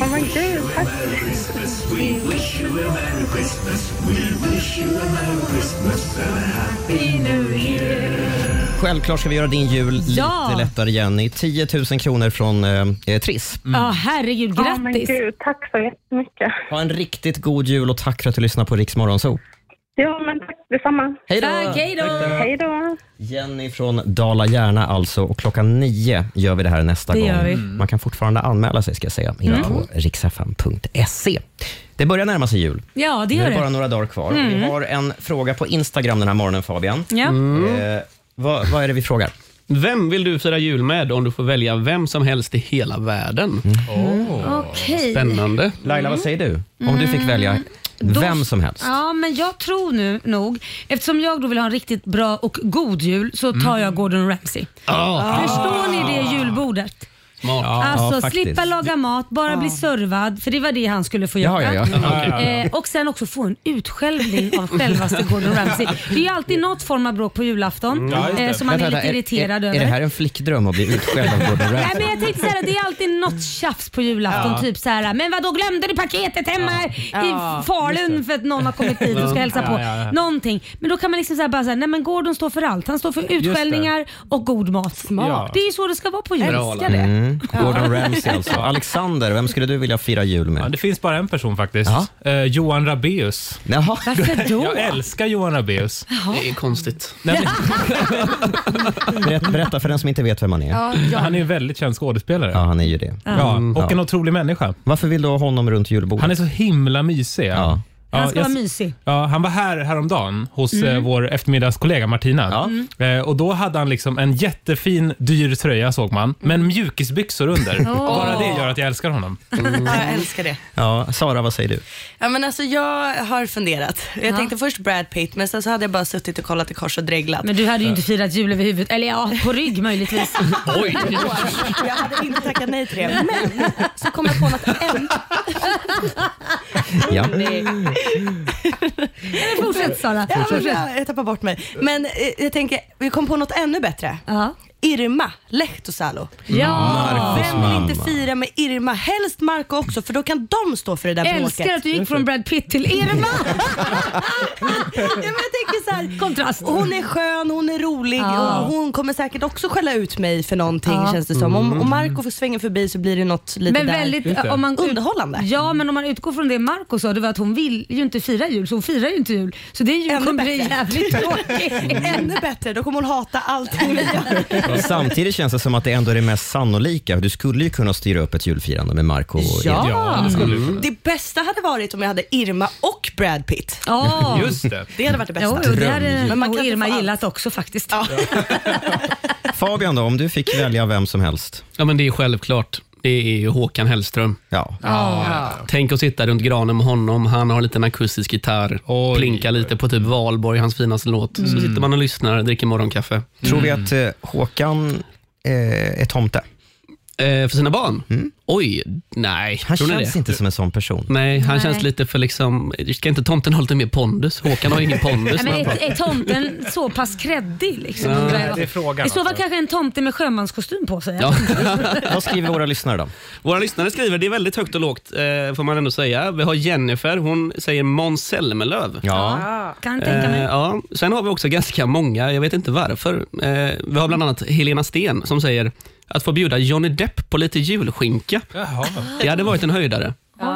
O: Åh, men gud. Tack.
P: We wish you a Merry Christmas. We wish you a Merry Christmas and a Happy New Year.
B: Självklart ska vi göra din jul
C: Ja.
B: lite lättare, Jenny. 10 000 kronor från eh, Triss.
C: Mm. Ja, herregud.
O: Ja, men
C: Grattis!
O: gud. Tack så jättemycket.
B: Ha en riktigt god jul och tack för att du lyssnar på Riks Morgonzoo.
O: Ja, men tack detsamma.
B: Hej då.
O: Tack,
C: hej då.
O: Hej då.
B: Jenny från Dala-Järna alltså och klockan nio gör vi det här nästa
O: Det
B: gång.
O: gör vi.
B: Man kan fortfarande anmäla sig ska jag säga inne
C: Mm.
B: på riksfm.se. Det börjar närma sig jul.
C: Ja,
B: nu
C: det gör
B: är det bara
C: det.
B: några dagar kvar.
C: Mm.
B: Vi har en fråga på Instagram den här morgonen Fabian.
C: Ja.
B: Eh, vad, vad är det vi frågar?
I: Vem vill du fira jul med om du får välja vem som helst i hela världen?
C: Mm. Okej.
I: Spännande.
B: Mm. Laila, vad säger du? Om du fick
C: Mm.
B: välja
C: Då-
B: vem som helst.
C: Ja, men jag tror nu nog, eftersom jag då vill ha en riktigt bra och god jul, så
B: Mm.
C: tar jag Gordon Ramsay.
I: Ah.
C: Förstår ni det julbordet?
I: Smart.
C: alltså slippa laga mat, bara bli servad, för det var det han skulle få göra.
I: Ja, ja, ja. Ja, ja, ja.
C: Eh, och sen också få en utskällning av självaste Gordon Ramsay. Det är ju alltid något form av bråk på
B: Mm.
C: julafton eh, som man är
B: Vänta,
C: lite
B: vänta, är,
C: irriterad
B: är,
C: över.
B: är det här en flickdröm att bli utskälld av Gordon
C: Nej,
B: Ramsay?
C: men jag tänkte så här, det är alltid något tjafs på julafton.
B: Ja.
C: Typ så här, men vadå glömde du paketet hemma
L: Ja,
C: i Falun för att någon har kommit dit och ska hälsa på?
L: Ja, ja, ja.
C: Någonting. Men då kan man liksom så här, bara säga, nej men Gordon står för allt. Han står för
L: det.
C: utskällningar och god mat.
L: Smart.
C: Det är ju så det ska vara på jul.
L: Bra,
C: Älskar det.
B: Mm. Gordon Ramsay alltså. Alexander, vem skulle du vilja fira jul med?
D: Ja, det finns bara en person faktiskt. Eh, Johan Rabeus.
B: Jaha.
D: Varför då? Jag älskar Johan Rabeus.
I: Det är konstigt.
B: Berätta, berätta för den som inte vet vem han är.
D: Ja, ja. Han
B: är en väldigt känd skådespelare. Ja, han är ju det.
D: Ja, och en
B: otrolig människa. Varför vill du ha honom runt julbordet?
D: Han är så himla mysig. Ja.
C: Han ska
D: jag-
C: vara mysig.
D: Ja, han var här häromdagen hos
C: Mm.
D: eh, vår eftermiddagskollega Martina. Eh, och Då hade han liksom en jättefin, dyr tröja såg man, men mjukisbyxor under.
H: Åh.
D: Bara det gör att jag älskar honom.
H: Ja, jag älskar det.
B: Ja, Sara, vad säger du?
H: Ja, men alltså, jag har funderat. Jag tänkte först Brad Pitt, men sen så hade jag bara suttit och kollat i kors och dreglat.
C: Men du hade ju inte firat jul över huvudet. Eller ja, på rygg möjligtvis.
H: Oj. Jag hade inte tackat nej till det, men så kom jag på något än.
B: Ja.
H: Men
C: fortsätt, Sara.
H: Ja, men
C: Fortsätt.
H: bra. jag tappar bort mig. Men eh, jag tänker, vi kom på något ännu bättre. Irma Lehtosalo.
C: Ja. Marcos
H: Vem vill inte
C: mamma.
H: fira med Irma? Helst Marco också, för då kan de stå för det där bråket.
C: Älskar att du gick från Brad Pitt till Irma.
H: ja, men jag tänker så här,
C: Kontrast.
H: Hon är skön, hon är rolig
C: Ja.
H: och hon kommer säkert också skälla ut mig för någonting
C: Ja.
H: känns det som. Om,
C: Mm.
H: om Marco får svänga förbi så blir det något lite
C: Men
H: där.
C: väldigt, om man, underhållande. Ja, men om man utgår från det Marco sa, det var att hon vill ju inte fira jul, så hon firar ju inte jul. Så det är ju kommer bli jävligt tråkigt.
H: Ännu bättre, då kommer hon hata allting.
B: Samtidigt känns det som att det ändå är det mest sannolika. Du skulle ju kunna styra upp ett julfirande med Marco och
H: Ja,
B: Edith. Mm.
H: det bästa hade varit om jag hade Irma och Brad Pitt.
C: Ja.
B: Just det.
H: Det hade varit det bästa.
C: Jo, jo, det hade
H: Men man
C: nog
H: kan inte
C: Irma
H: få allt.
C: gillat också faktiskt.
B: Fabian då, om du fick välja vem som helst?
I: Ja, men det är självklart. Det är ju Håkan Hellström.
B: Ja.
C: Ja.
I: Tänk att sitta runt granen med honom. Han har en liten akustisk gitarr, plinka lite på typ Valborg, hans finaste låt. Så
B: Mm.
I: sitter man och lyssnar, dricker morgonkaffe.
B: Tror vi
H: Mm.
B: att eh, Håkan eh, är tomte? Mm.
I: Eh, för sina barn? Oj, nej.
B: Han
I: tror ni
B: känns
I: det?
B: inte som en sån person.
I: Nej, han
C: Nej.
I: känns lite för liksom... Ska inte tomten ha lite mer pondus? Håkan har ingen pondus.
C: Nej, men är, är tomten så pass kreddig? Liksom,
I: Ja,
C: undrar jag.
I: det är frågan,
C: I så fall
I: alltså.
C: kanske en tomte med sjömanskostym på sig.
B: Vad skriver våra lyssnare då?
I: Våra lyssnare skriver, det är väldigt högt och lågt eh, får man ändå säga. Vi har Jennifer, hon säger Måns Zelmerlöw.
C: Ja. Kan jag tänka mig.
I: Eh, ja. Sen har vi också ganska många, jag vet inte varför. Eh, vi har bland annat Helena Sten som säger att få bjuda Johnny Depp på lite julskinka. Det hade varit en höjdare.
C: Oj,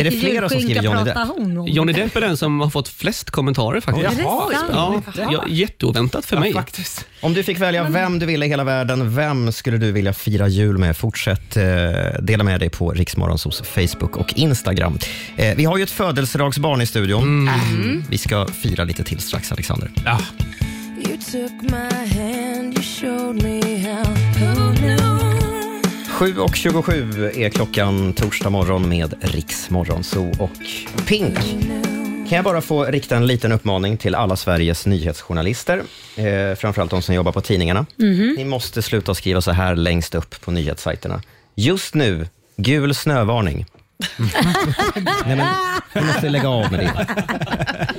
I: Är det
C: vilken
I: flera som
C: julskinka
I: skriver Johnny
C: pratar
I: Depp?
C: hon om?
I: Johnny Depp är den som har fått flest kommentarer faktiskt.
B: Oj. Jaha,
I: ja,
B: spännande.
I: ja, jätteoväntat för mig. faktiskt.
B: Om du fick välja vem du ville i hela världen, vem skulle du vilja fira jul med? Fortsätt eh, dela med dig på Riksmorgonsos Facebook och Instagram. Eh, vi har ju ett födelsedagsbarn i studion.
I: Mm.
B: Äh, vi ska fira lite till strax, Alexander.
L: You took my hand, you showed me how. Who knew?
B: 7.27 är klockan torsdag morgon med Riksmorgonso och Pink. Kan jag bara få rikta en liten uppmaning till alla Sveriges nyhetsjournalister, eh, framförallt de som jobbar på tidningarna.
L: Mhm.
B: Ni måste sluta skriva så här längst upp på nyhetssajterna. Just nu, gul snövarning. Nej, men, vi måste lägga av med det.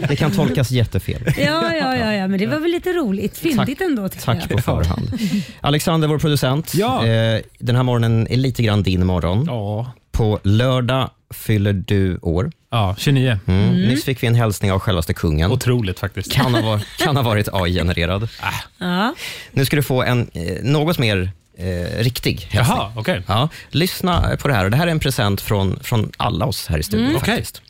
B: Det kan tolkas jättefel.
C: Ja, ja, ja, ja, men det var väl lite roligt. Fyndigt
B: Tack.
C: ändå tycker
B: Tack
C: jag.
B: på förhand. Alexander, vår producent. Eh, den här morgonen är lite grann din morgon. På lördag fyller du år.
D: Ja, 29.
B: Mm.
D: Mm.
B: Nyss fick vi en hälsning av självaste kungen. Otroligt faktiskt. Kan ha, var- kan ha varit AI-genererad.
C: Ja.
B: Nu ska du få en eh, något mer eh, riktig hälsning.
D: Jaha, okej.
B: ja, lyssna på det här. Och Det här är en present från, från alla oss här i studion.
Q: Mm. Okej.
B: faktiskt.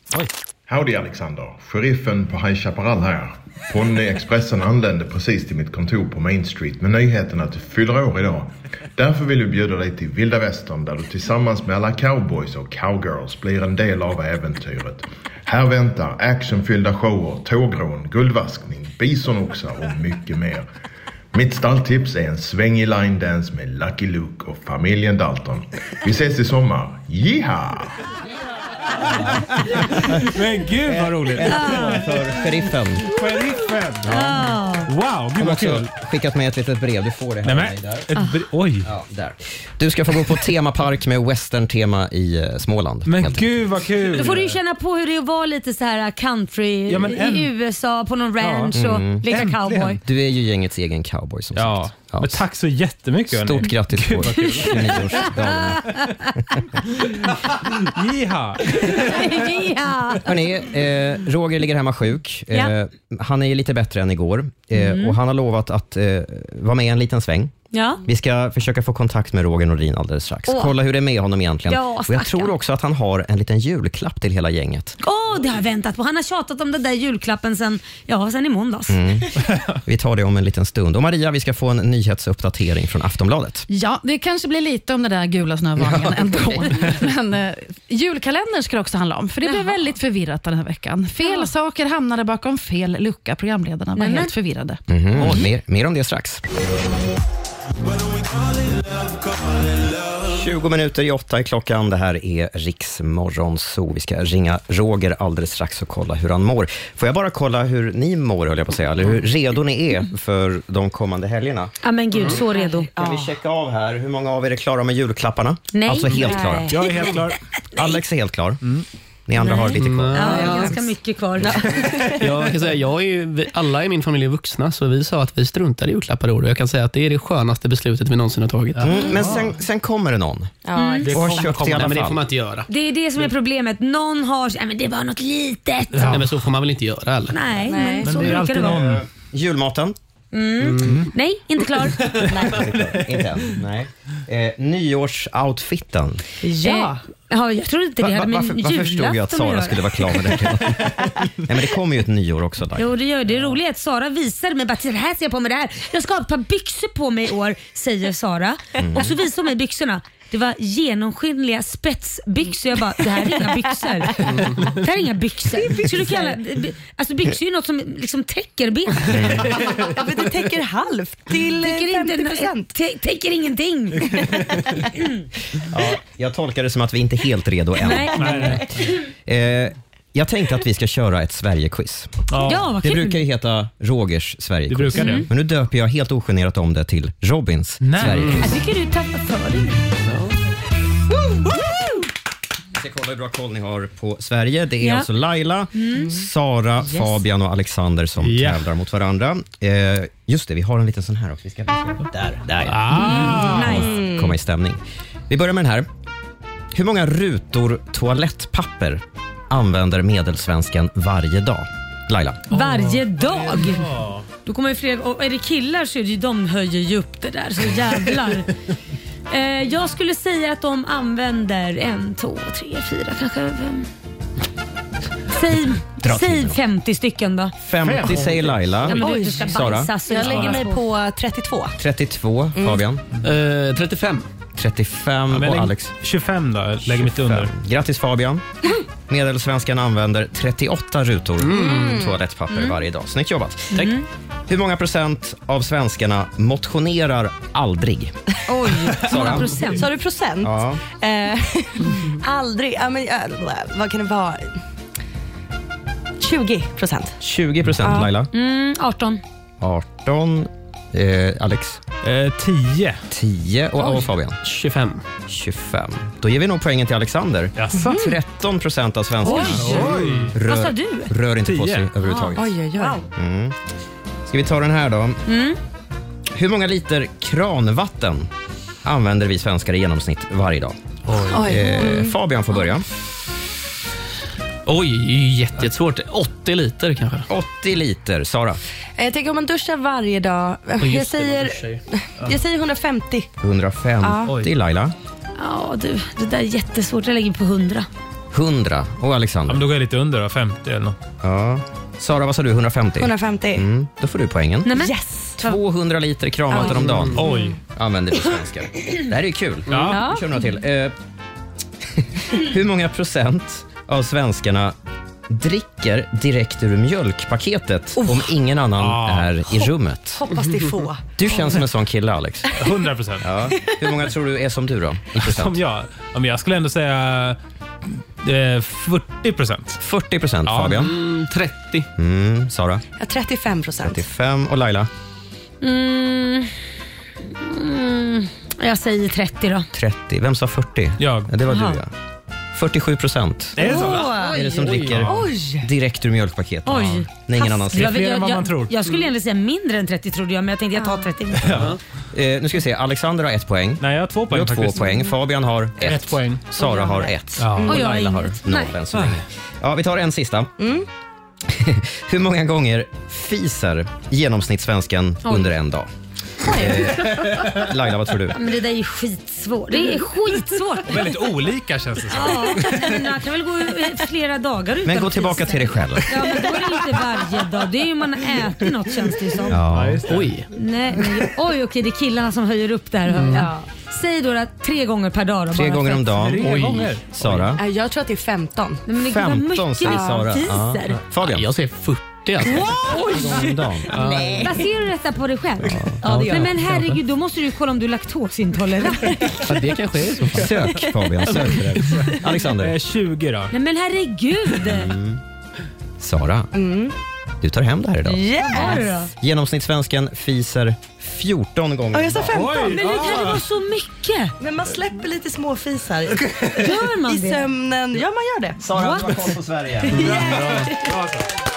Q: Howdy Alexander, sheriffen på High Chaparral här. Ponnyexpressen anlände precis till mitt kontor på Main Street med nyheten att du fyller år idag. Därför vill vi bjuda dig till vilda västern där du tillsammans med alla cowboys och cowgirls blir en del av äventyret. Här väntar actionfyllda shower, tågrån, guldvaskning, bisonoxar och mycket mer. Mitt stalltips är en svängig line dance med Lucky Luke och familjen Dalton. Vi ses i sommar. Jiha!
D: Men gud vad roligt!
B: För sheriffen.
D: Sheriffen!
B: Ja.
D: Wow,
B: Hon
D: gud
B: har
D: vad
B: också
D: kul!
B: skickat med ett litet brev. Du får det här
D: Nej,
B: av
D: men,
B: mig Ah.
D: ett, br- oj!
B: Ja, där. Du ska få gå på temapark med western-tema i eh, Småland.
D: Men gud vad
C: Då
D: kul!
C: får du ju känna på hur det är att vara lite så här äh, country
B: Ja, men
C: i
B: äm-
C: USA på någon ranch och leka cowboy.
B: Mm. Du är ju gängets egen cowboy som ja. sagt. Ja. Men
D: tack så jättemycket. hörni.
B: Stort grattis på
D: Gud, vad kul.
B: 29-årsdagen.
D: Jiha!
C: ja.
B: Hörrni, eh, Roger ligger hemma sjuk. Eh,
C: Ja.
B: Han är ju lite bättre än igår eh,
C: Mm.
B: och han har lovat att eh, vara med en liten sväng
C: Ja.
B: Vi ska försöka få kontakt med Roger Nordin alldeles strax.
C: Åh.
B: Kolla hur det är med honom egentligen.
C: Ja,
B: och jag
C: stackarn.
B: tror också att han har en liten julklapp till hela gänget.
C: Åh, det har jag väntat på. Han har tjatat om den där julklappen sen, ja, sen i måndags.
B: Mm. Vi tar det om en liten stund. Och Maria, vi ska få en nyhetsuppdatering från Aftonbladet.
K: Ja, det kanske blir lite om den där gula snövarningen ändå. Men eh, julkalendern ska det också handla om, för det blev väldigt förvirrat den här veckan. Fel saker hamnade bakom fel lucka. Programledarna var
B: Nämen.
K: helt förvirrade.
B: Mhm, Mer, mer om det strax. 20 minuter i åtta är klockan. Det här är Riksmorgon Zoo. Vi ska ringa Roger alldeles strax och kolla hur han mår. Får jag bara kolla hur ni mår, höll jag på att säga, eller hur redo ni är för de kommande helgerna?
C: Ja men gud, så redo.
B: Ska vi checka av här? Hur många av er är klara med julklapparna?
C: Ah. Nej.
B: Alltså helt
C: Nej.
B: klara.
C: Jag är helt klar.
B: Alex är helt klar.
I: Mm.
B: Ni andra har lite kvar.
C: Ja, jag har ganska mycket kvar.
I: Jag kan säga, jag är ju, vi- alla i min familj är vuxna, så vi sa att vi struntar i julklappar i år. Och Jag kan säga att det är det skönaste beslutet vi någonsin har tagit.
B: Mm, men sen, sen kommer det någon.
C: Ja,
I: Det
B: Och har
I: kommer
B: köpt i
I: komma.
B: alla
I: Mm. Nej, men det
B: fall.
I: får man inte göra.
C: Det är det som är problemet. Någon har... Nej, men det är bara något litet.
I: Nej, men så får man väl inte göra eller?
C: Nej, men Men så det är brukar alltid det vara. någon-
B: Eh, Julmaten?
C: Mm.
B: Mm.
C: Nej, inte klar.
B: Inte än. Nej. Eh, nyårsoutfiten.
C: ja. Eh, ja, jag trodde inte
B: Va-
C: det
B: va-
C: hade med
B: varför, varför förstod jag att
C: julafton att
B: Sara
C: göra.
B: skulle vara klar med det? Nej, men det kommer ju ett nyår också. Där.
C: Jo, det gör det. Det roliga är att Sara visar mig bara "Titta, det här ser jag på mig det här. Jag ska ha ett par byxor på mig i år, säger Sara.
B: Mm.
C: Och så visar hon mig byxorna. Det var genomskinliga spetsbyxor. Jag bara, det här är inga byxor. Det här är inga byxor. Skulle du kalla, alltså byxor är ju något som liksom täcker benet.
H: Ja, men det täcker halvt till eh,
C: Täcker, inte,
H: 50%.
C: tä- täcker ingenting.
B: Ja, jag tolkar det som att vi inte är helt redo än.
C: Nej. Nej,
B: Eh, jag tänkte att vi ska köra ett Sverige-quiz.
C: Ja. Ja, vad
B: det
C: kul.
B: brukar ju heta Rogers Sverige-quiz.
D: brukar det. Mm.
B: Men nu döper jag helt ogenerat om det till Robins Sverige-quiz.
C: Jag tycker du tappar för dig.
B: Vi ska kolla hur bra koll ni har på Sverige. Det är
C: Ja.
B: alltså Laila,
L: Mm.
B: Sara,
L: Yes.
B: Fabian och Alexander som
L: Ja.
B: tävlar mot varandra. Eh, just det, vi har en liten sån här också. Vi ska där, där.
L: Ah.
B: Mm.
L: Nice.
B: Komma i stämning. Vi börjar med den här. Hur många rutor toalettpapper använder medelsvensken varje dag? Laila?
C: Varje dag. Då kommer ju fler, och är det killar så är det ju, de höjer ju upp det där så jävlar. eh, jag skulle säga att de använder en, två, tre, fyra kanske. fem. Säg,
B: Dra
C: säg 50 stycken då.
B: 50 säger Laila.
C: Ja, men du, du ska
B: Sara?
C: bajsa, så
H: Jag
C: det
H: lägger
C: är
H: mig
C: svårt.
H: på 32.
B: 32.
H: Mm.
B: Fabian?
I: 35.
B: 35
D: men
B: och
D: lägg-
B: Alex?
D: 25 då, lägger mitt under.
B: Grattis Fabian. Medelsvenskan använder 38 rutor
D: Mm.
B: toalettpapper
D: Mm.
B: varje dag. Snyggt jobbat.
D: Tack. Mm.
B: Hur många procent av svenskarna motionerar aldrig?
H: Oj,
B: Sara?
H: Sa du procent?
B: Ja.
H: Eh, aldrig, ja, men, eh, vad kan det vara? 20 procent.
B: 20 procent Laila.
C: Mm, 18.
B: 18. Eh, Alex? 10. 10 och, och Fabian?
I: 25.
B: 25. Då ger vi nog poängen till Alexander.
D: Jaså? Mm.
B: 13 procent av svenskarna.
D: Oj.
B: Rör,
C: Vad sa du?
B: Rör inte på
D: 10.
B: sig överhuvudtaget.
C: Ah, oj, oj, oj.
B: Mm. Ska vi ta den här då?
C: Mm.
B: Hur många liter kranvatten använder vi svenskar i genomsnitt varje dag?
I: Oj.
B: Eh,
I: Oj.
B: Fabian får börja.
I: Oj, det är ju jätte- jättesvårt. 80 liter kanske.
B: 80 liter. Sara?
H: Eh, Jag tänker om man duschar varje dag.
B: just det, man
H: jag, säger,
B: duschar ju.
H: jag säger 150.
B: 150.
H: Ja. Oj.
B: Laila?
C: Ja du, det där är jättesvårt. Jag lägger mig på 100.
B: 100. Och Alexander?
D: Ja, men då går jag lite under då, 50 eller något.
B: Ja. Sara, vad sa du? 150?
H: 150.
B: Mm, då får du poängen.
C: Nej, men.
H: Yes!
B: 200 liter kranvatten om dagen Oj. använder vi svenskar. Det här är ju kul. Mm,
L: Ja.
B: Vi kör några till. Eh, hur många procent av svenskarna dricker direkt ur mjölkpaketet
C: Oh.
B: om ingen annan
D: Ah.
B: är i rummet?
H: Hoppas det är få.
B: Du känns som en sån kille, Alex.
D: 100 procent.
B: Ja. Hur många tror du är som du då? I procent?
D: Som jag? Ja, men jag skulle ändå säga eh, 40 procent.
B: 40 procent, Fabian?
I: 30.
B: Mm, Sara?
H: Ja, 35 procent.
B: 35 och Laila?
C: Mm. Mm. Jag säger 30 då.
B: 30. Vem sa 40? Jag. Ja, det var
C: Jaha.
B: du, ja. 47 procent
C: Är det så? Åh,
B: är det som
C: oj.
B: dricker
C: Oj.
B: direkt ur mjölkpaketet.
C: Oj.
B: Nej, ingen annan
C: Jag, jag, jag, jag skulle egentligen säga mindre än 30 trodde jag, men jag tänkte jag tar 30.
B: Ja. Eh, nu ska vi se. Alexander har ett poäng. Nej, jag har två
D: poäng
B: Du har två
D: faktiskt.
B: poäng. Fabian har ett.
D: Ett poäng.
B: Sara har ett.
D: Ja.
B: Och
D: Och jag har
B: Laila har
D: inget.
B: noll
D: Nej.
B: än så länge.
C: Ah.
B: Ja, vi tar en sista.
C: Mm.
B: Hur många gånger fiser genomsnittssvensken
C: Oj.
B: under en dag? Eh, Laila, vad tror du?
C: Men det där är ju skitsvårt. Det är skitsvårt.
D: Väldigt olika känns det som.
C: Ja, men man kan väl gå eh, flera dagar utan
B: Men gå
C: att
B: tillbaka
C: frysa.
B: till dig själv.
C: Ja, men då är det inte varje dag. Det är ju man äter något känns det ju som.
B: Oj.
C: Nej, nej, oj, okej, det är killarna som höjer upp där. Mm. Ja. Säg då att tre gånger per dag då,
B: Tre
C: bara
B: gånger
C: för
B: om
C: att-
B: dagen. Oj, Sara.
H: Nej, Jag tror att det är 15.
C: men det kan vara
B: 15 säger Sara. Ja. Fabian? Jag
I: säger 40
C: alltså.
B: Oj!
C: Nej. Baserar du detta på dig själv? Ja,
I: det gör jag.
C: Nej, men herregud, då måste du ju kolla om du är laktosintolerant.
I: Ja, det kanske är så.
B: Sök Fabian, sök för det. Alexander?
D: 20 Eh, då.
C: Nej men herregud!
B: Sara,
C: Mm.
B: du tar hem det här idag.
C: Vad var det då?
B: Genomsnittssvensken fiser 14 gånger
H: Ja, jag sa
B: om dagen.
H: 15.
C: Men hur kan
B: Ah.
D: Ah.
C: det vara så mycket?
H: Men man släpper lite småfisar.
C: Gör man
H: I
C: det?
H: sömnen. Ja, man gör det.
B: Sara, du har koll på Sverige.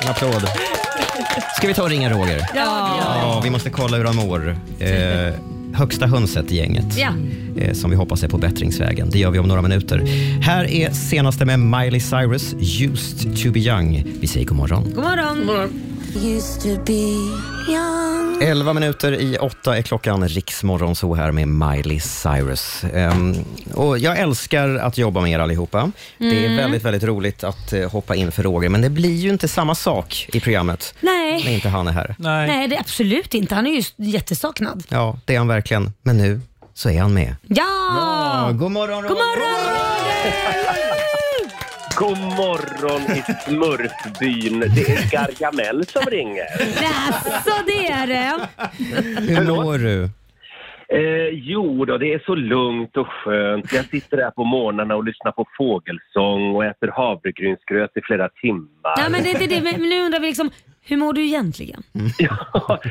B: En applåd. Ska vi ta och ringa Roger?
C: Ja.
B: Ja, vi måste kolla hur han mår. Eh, högsta hönset i gänget.
C: Ja.
B: Eh, som vi hoppas är på bättringsvägen. Det gör vi om några minuter. Här är senaste med Miley Cyrus, Used to be young. Vi säger god morgon.
C: God morgon. God
L: Used to be young
B: 11 minuter i åtta är klockan. Riksmorgon så här med Miley Cyrus. Ehm, och jag älskar att jobba med er allihopa. Det är
C: Mm.
B: väldigt, väldigt roligt att eh, hoppa in för Roger, men det blir ju inte samma sak i programmet när
C: Nej.
B: inte han är här.
C: Nej. det är absolut inte. Han är ju jättesaknad.
B: Ja, det är han verkligen. Men nu så är han med.
C: Ja!
B: Ja, god morgon,
C: God morgon!
R: God morgon i smurfbyn. Det är Gargamel som ringer.
C: Alltså det är det.
B: Hur mår du?
R: Eh, jo då, det är så lugnt och skönt. Jag sitter här på morgnarna och lyssnar på fågelsång och äter havregrynsgröt i flera timmar.
C: Nej men det är inte det. Men nu undrar vi liksom, hur mår du egentligen?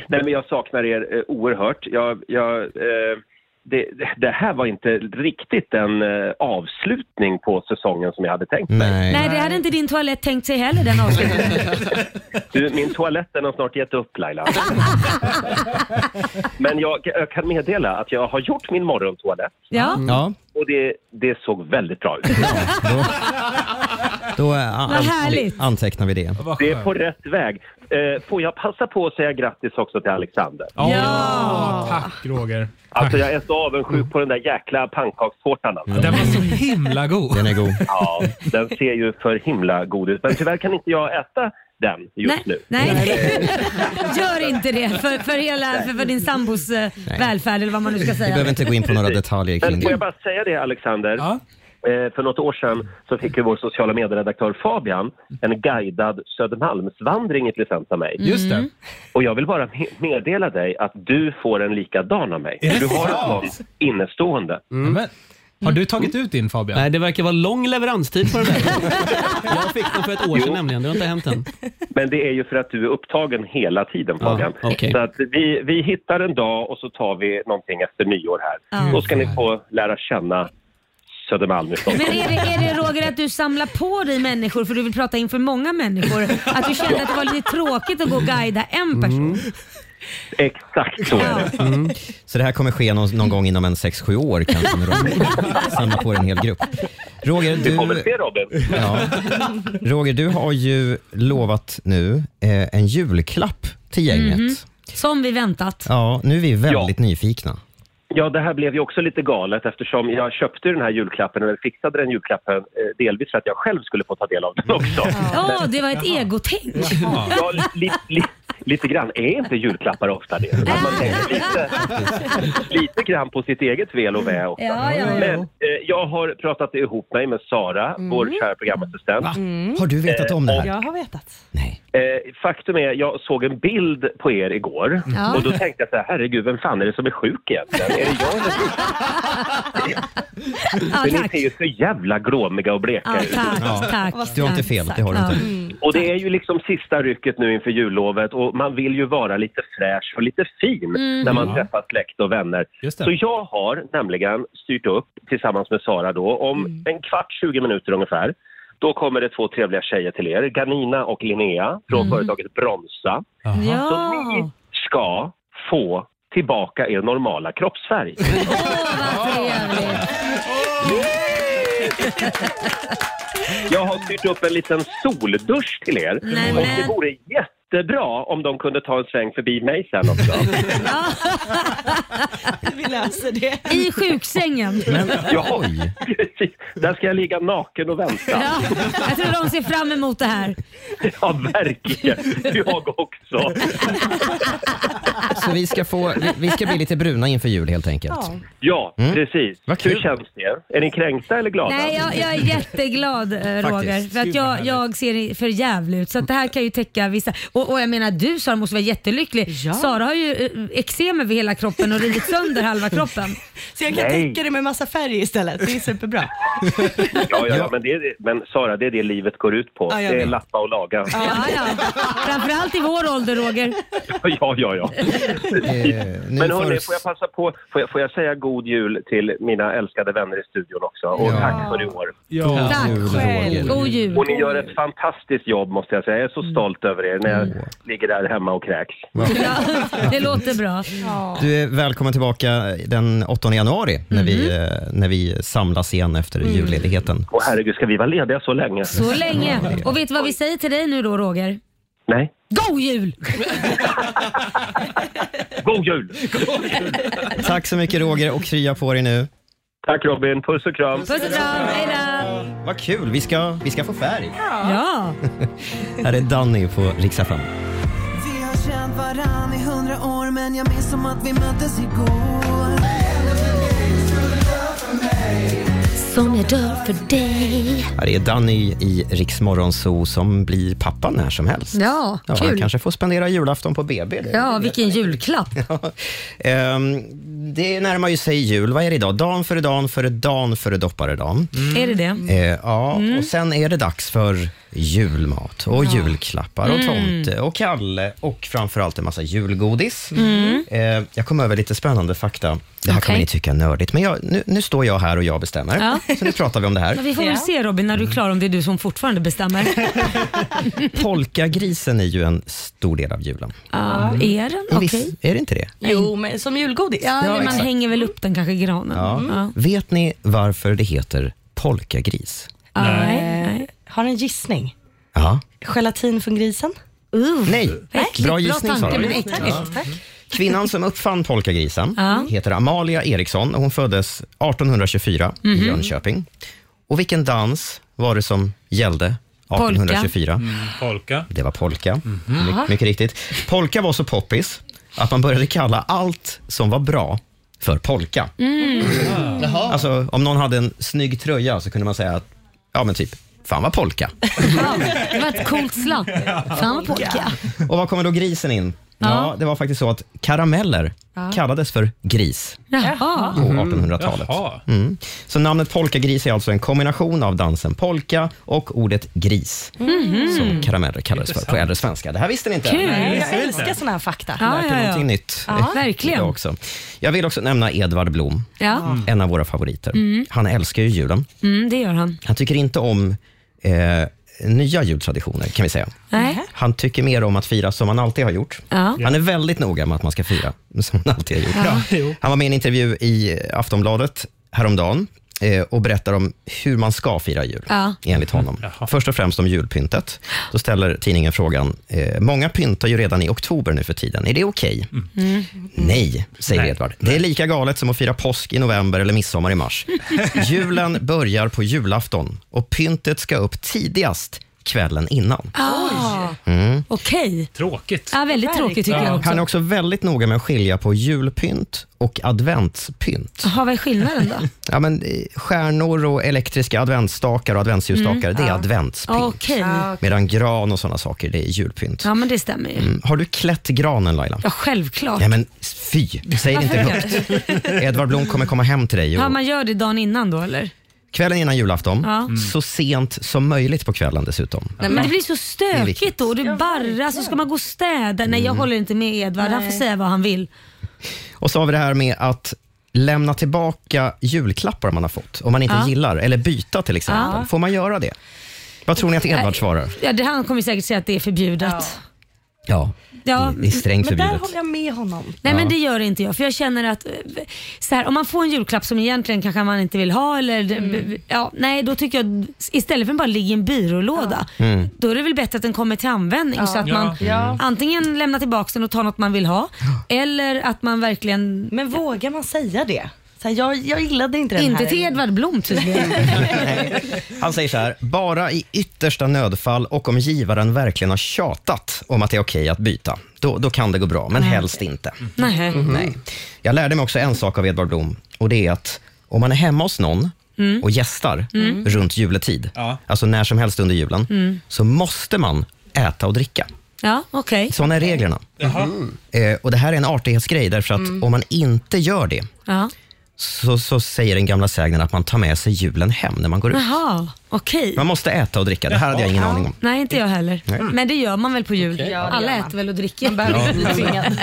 R: Nej, men jag saknar er eh, oerhört. Jag, jag, eh, det, det här var inte riktigt en eh, avslutning på säsongen som jag hade tänkt mig.
C: Nej, det hade inte din toalett tänkt sig heller den avslutningen.
R: Du, min toalett den har snart gett upp Laila. Men jag, jag kan meddela att jag har gjort min morgontoalett.
C: Ja.
D: Mm.
B: Ja,
R: Och det, det såg väldigt bra ut.
B: då eh, an-
R: härligt.
B: antecknar vi det.
R: Det är på rätt väg. Eh, Får jag passa på att säga grattis också till Alexander?
D: Ja, tack Roger.
R: Alltså jag är så avundsjuk på den där jäkla pannkakstårtan. alltså.
D: Den var så himla god.
B: Den är god.
R: Ja, den ser ju för himla god ut. Men tyvärr kan inte jag äta den just nu.
C: Nej, gör inte det för, för, hela, för, för din sambos eh, välfärd eller vad man nu ska
B: Vi behöver
C: säga.
B: inte gå in på några detaljer kring
R: Men får
B: det.
R: jag bara säga det Alexander? Eh, För något år sedan så fick ju vår sociala medieredaktör Fabian en guidad Södermalmsvandring i present av mig.
D: Just det. Mm.
R: Och jag vill bara me- meddela dig att du får en likadan av mig.
D: Är det
R: Du har
D: sant?
R: ett sånt innestående.
D: Men, har du tagit ut din Fabian?
I: Mm. Nej, det verkar vara lång leveranstid på den där. Jag fick den för ett år sedan nämligen. Det har inte hänt än.
R: Men det är ju för att du är upptagen hela tiden Fabian.
I: okej.
R: Så att vi, vi hittar en dag och så tar vi någonting efter nyår här.
C: Ja.
R: Då ska ni få lära känna Södermalm i
C: Men
R: Stockholm.
C: är det, är det Roger att du samlar på dig människor för du vill prata inför många människor? Att du kände att det var lite tråkigt att gå och guida en person?
R: Exakt så är det.
B: Mm. Så det här kommer ske någon, någon gång inom en 6-7 år kanske när de samlar på en hel grupp. Roger,
R: Du får väl
B: du,
R: se Robin.
B: Ja. Mm. Roger, du har ju lovat nu eh, en julklapp till gänget.
C: Mhm. Som vi väntat.
B: Ja, nu är vi väldigt nyfikna.
R: Ja, det här blev ju också lite galet eftersom jag köpte den här julklappen, eller fixade den julklappen, eh, delvis för att jag själv skulle få ta del av den också.
C: Ja, det var ett egotänk.
R: Ja, li, li, li, lite grann. Är inte julklappar ofta det? Att man tänker lite, lite grann på sitt eget väl och väl också.
C: Ja, ja, ja.
R: Men eh, jag har pratat ihop mig med Sara, vår
C: Mm.
R: kära programassistent.
B: Har du vetat om det här?
H: Mm. Jag har vetat.
R: Eh, faktum är, jag såg en bild på er igår
H: Ja.
R: och då tänkte jag så här, herregud, vem fan är det som är sjuk egentligen? Är det jag eller du?
C: Ja,
R: För ni
C: tack.
R: ser ju så jävla gråmiga och bleka
C: Ja,
R: ut.
C: tack,
B: Ja.
C: tack.
B: Du har inte fel, det har du
C: Ja.
B: inte.
C: Mm.
R: Och det är ju liksom sista rycket nu inför jullovet och man vill ju vara lite fräsch och lite fin
P: Mm.
R: när man
P: Ja.
R: träffar släkt och vänner.
P: det.
R: Så jag har nämligen styrt upp tillsammans med Sara då om
P: Mm.
R: en kvart, 20 minuter ungefär. Då kommer det två trevliga tjejer till er, Ganina och Linnea från
P: Mm.
R: företaget Bronsa.
C: Ja.
R: Så ni ska få tillbaka er normala kroppsfärg. Jag har styrt upp en liten soldusch till er.
C: Nej,
R: och det
C: men-
R: vore jättebra om de kunde ta en sväng förbi mig sen också.
H: Vi löser det.
C: I sjuksängen.
R: ja, precis. Där ska jag ligga naken och vänta.
C: Ja, jag tror de ser fram emot det här.
R: Ja, verkligen. Jag också.
B: Så vi ska, få, vi, vi ska bli lite bruna inför jul helt enkelt.
R: Ja, precis. Hur känns det? Är ni kränkta eller glada?
C: Mm. Nej, jag, jag är jätteglad eh, Roger. För att
R: Gud, vad
C: jag,
R: härligt.
C: jag ser för jävligt ut. Så att det här kan ju täcka vissa. Och, och jag menar du Sara måste vara jättelycklig. Sara har ju eh, eksem över hela kroppen och rivit sönder halva kroppen.
H: Så jag kan
R: Nej.
H: täcka det med massa färg istället. Det är superbra.
R: Ja, ja, ja. Men, det är, det- men Sara, det är det livet går ut på.
H: Ja, jag
R: det är
H: vet.
R: lappa och laga.
C: Ja, ja. Framförallt i vår ålder Roger.
R: Ja, ja, ja.
C: Eh,
R: Men hörni,
B: får-
R: får jag passa på, får jag, får jag säga god jul till mina älskade vänner i studion också? Och
B: Ja.
R: tack för i år.
B: Ja. Tack
C: God jul, själv. Roger. God jul. Mm.
R: Och ni gör ett fantastiskt jobb måste jag säga. Jag är så stolt över er när jag ligger där hemma och kräks.
C: Det låter bra.
B: Du är välkommen tillbaka den 8 januari när, vi, eh, när vi samlas igen efter julledigheten.
R: Och herregud, ska vi vara lediga så länge?
C: Så länge. Och vet du vad vi säger till dig nu då Roger?
R: Nej.
C: God jul!
R: God jul!
B: Tack så mycket Roger och krya på dig nu.
R: Tack Robin, puss och kram.
C: Puss och kram, hejdå!
B: Vad kul, vi ska, vi ska få färg.
C: Ja.
B: Här är Danny på Riksdag fram.
E: Vi har känt varann i hundra år men jag minns som att vi möttes igår
L: Som jag dör för dig
B: Här är Danny i Riksmorgonzoo som blir pappa när som helst.
C: Ja,
B: Ja, han
C: kul.
B: kanske får spendera julafton på BB. Det-
C: Ja, vilken julklapp.
B: Ehm, det närmar ju sig jul. Vad är det idag? Dan före dan före dan före dopparedan.
C: Är det det?
B: Eh, ja,
C: Mm.
B: och sen är det dags för julmat och julklappar och
L: Mm.
B: tomte och Kalle och framförallt en massa julgodis.
L: Mm.
B: Eh, jag kom över lite spännande fakta. Det här kommer
C: Okej.
B: ni tycka är nördigt, men jag, nu, nu står jag här och jag bestämmer.
C: Ja.
B: Så nu pratar vi om det här.
C: Men vi får väl se Robin när du är klar om det är du som fortfarande bestämmer.
B: Polkagrisen är ju en stor del av julen.
C: Ja, är den?
B: Och
C: Okej.
B: visst Är det inte det?
H: Jo, men som julgodis.
C: Ja, eller man
B: exakt.
C: hänger väl upp den kanske i granen.
B: Ja. Vet ni varför det heter polkagris?
H: Nej. Har en gissning.
B: Ja.
H: Gelatin från grisen?
B: Nej.
H: Äckligt.
B: Bra gissning,
H: tanke,
B: Sara.
H: men äckligt.
B: Ja.
H: Tack.
B: Kvinnan som uppfann polkagrisen
H: Ja.
B: heter Amalia Eriksson och hon föddes 1824
L: Mhm.
B: i Jönköping. Och vilken dans var det som gällde 1824?
D: Mm. Polka.
B: Det var polka,
D: Jaha.
B: My, mycket riktigt. Polka var så poppis att man började kalla allt som var bra för polka.
L: Mm.
B: Alltså, om någon hade en snygg tröja så kunde man säga att, ja men typ, fan vad polka.
C: Ja, det var ett coolt slant. Fan vad pojkar.
B: Och var kommer då grisen in? Ja.
C: Ja.
B: det var faktiskt så att karameller
C: Ja.
B: kallades för gris
C: Jaha.
B: på 1800-talet. Mm. Så namnet polkagris är alltså en kombination av dansen polka och ordet gris,
C: Mm.
H: Mhm.
B: som karameller kallades för på äldre svenska. Det här visste ni inte.
H: Kul.
B: Nej,
H: Jag älskar såna här fakta.
B: Jag lärde någonting nytt.
H: Ja,
B: eh,
H: verkligen.
B: idag Också. Jag vill också nämna Edvard Blom,
C: Ja. Mm.
B: en av våra favoriter.
C: Mm.
B: Han älskar ju julen.
C: Mm, det gör han.
B: Han tycker inte om eh, nya jultraditioner, kan vi säga.
C: Nej.
B: Han tycker mer om att fira som man alltid har gjort.
C: Ja.
B: Han är väldigt noga med att man ska fira som man alltid har
L: Ja.
B: gjort. Han var med i en intervju i eh, Aftonbladet häromdagen eh, och berättar om hur man ska fira jul,
L: Ja.
B: enligt honom. Först och främst om julpyntet. Då ställer tidningen frågan, eh, många pyntar ju redan i oktober nu för tiden. Är det okej?
L: Mm.
B: Nej, säger Edvard. Det är lika galet som att fira påsk i november eller midsommar i mars. Julen börjar på julafton och pyntet ska upp tidigast kvällen innan.
C: Ah,
B: Mm.
C: Okej.
D: Tråkigt.
C: Ja, väldigt tråkigt tycker jag också.
B: Han är också väldigt noga med att skilja på julpynt och adventspynt.
C: Jaha, vad är skillnaden då?
B: Ja, men eh, stjärnor och elektriska adventsstakar och adventsljusstakar,
C: Mm,
B: det är
C: ja.
B: adventspynt.
C: Okej. Ja, okej.
B: Medan gran och sådana saker, det är julpynt.
C: Ja, men det stämmer ju.
B: Mm. Har du klätt granen Laila?
C: Ja, självklart.
B: Nej men fy, säg det inte
C: Varför
B: högt. Edvard Blom kommer komma hem till dig.
C: Ja,
B: Och
C: man gör det dagen innan då eller?
B: kvällen innan julafton,
C: Ja. Mm.
B: så sent som möjligt på kvällen dessutom.
C: Nej, men det blir så
B: är viktigt.
C: stökigt då. Du barrar, så ska man gå och städa. Nej, jag håller inte med Edvard. Han får säga vad han vill.
B: Och så har vi det här med att lämna tillbaka julklappar man har fått, om man inte
C: Ja.
B: gillar, eller byta till exempel.
C: Ja.
B: Får man göra det? Vad tror ni att Edvard svarar?
C: Ja, det, han kommer säkert säga att det är förbjudet.
B: Ja,
C: Ja,
B: det är strängt
C: men där
B: förbjudet.
C: håller
H: Jag är med honom.
C: Nej men
B: Ja.
C: det gör inte jag för jag känner att eh, så här, om man får en julklapp som egentligen kanske man inte vill ha eller ja, nej då tycker jag istället för att den bara ligga i en byrålåda
L: Mm.
C: då är det väl bättre att den kommer till användning
L: Ja.
C: så att
L: Ja.
C: man
L: Ja.
C: antingen lämnar tillbaka den och tar något man vill ha eller att man verkligen...
H: Men vågar man säga det? Så här, jag, jag gillade inte den
C: Inte
H: här.
C: till Edvard Blom tydligen.
B: Han säger så här, bara i yttersta nödfall och om givaren verkligen har tjatat om att det är okej att byta, då, då kan det gå bra, men
C: Ah,
B: helst inte.
L: Mm.
B: Mm.
C: Nej. Mm.
B: Nej. Jag lärde mig också en sak av Edvard Blom och det är att om man är hemma hos någon
L: Mm.
B: och gästar
L: Mm.
B: runt juletid, alltså när som helst under julen,
L: Mm.
B: så måste man äta och dricka.
C: Ja, okej.
B: Sådana är reglerna. Eh, och Det här är en artighetsgrej, därför att
C: Mm.
B: om man inte gör det,
C: Ja.
B: så, så säger den gamla sägnen att man tar med sig julen hem när man går ut.
C: Jaha, okej.
B: Man måste äta och dricka. Det här hade jag ingen aning om.
C: Nej, inte jag heller.
B: Nej.
C: Men det gör man väl på jul?
H: Ja, det
C: Alla
H: gör man.
C: äter väl och dricker.
B: behöver inte bli Ja. tvingad.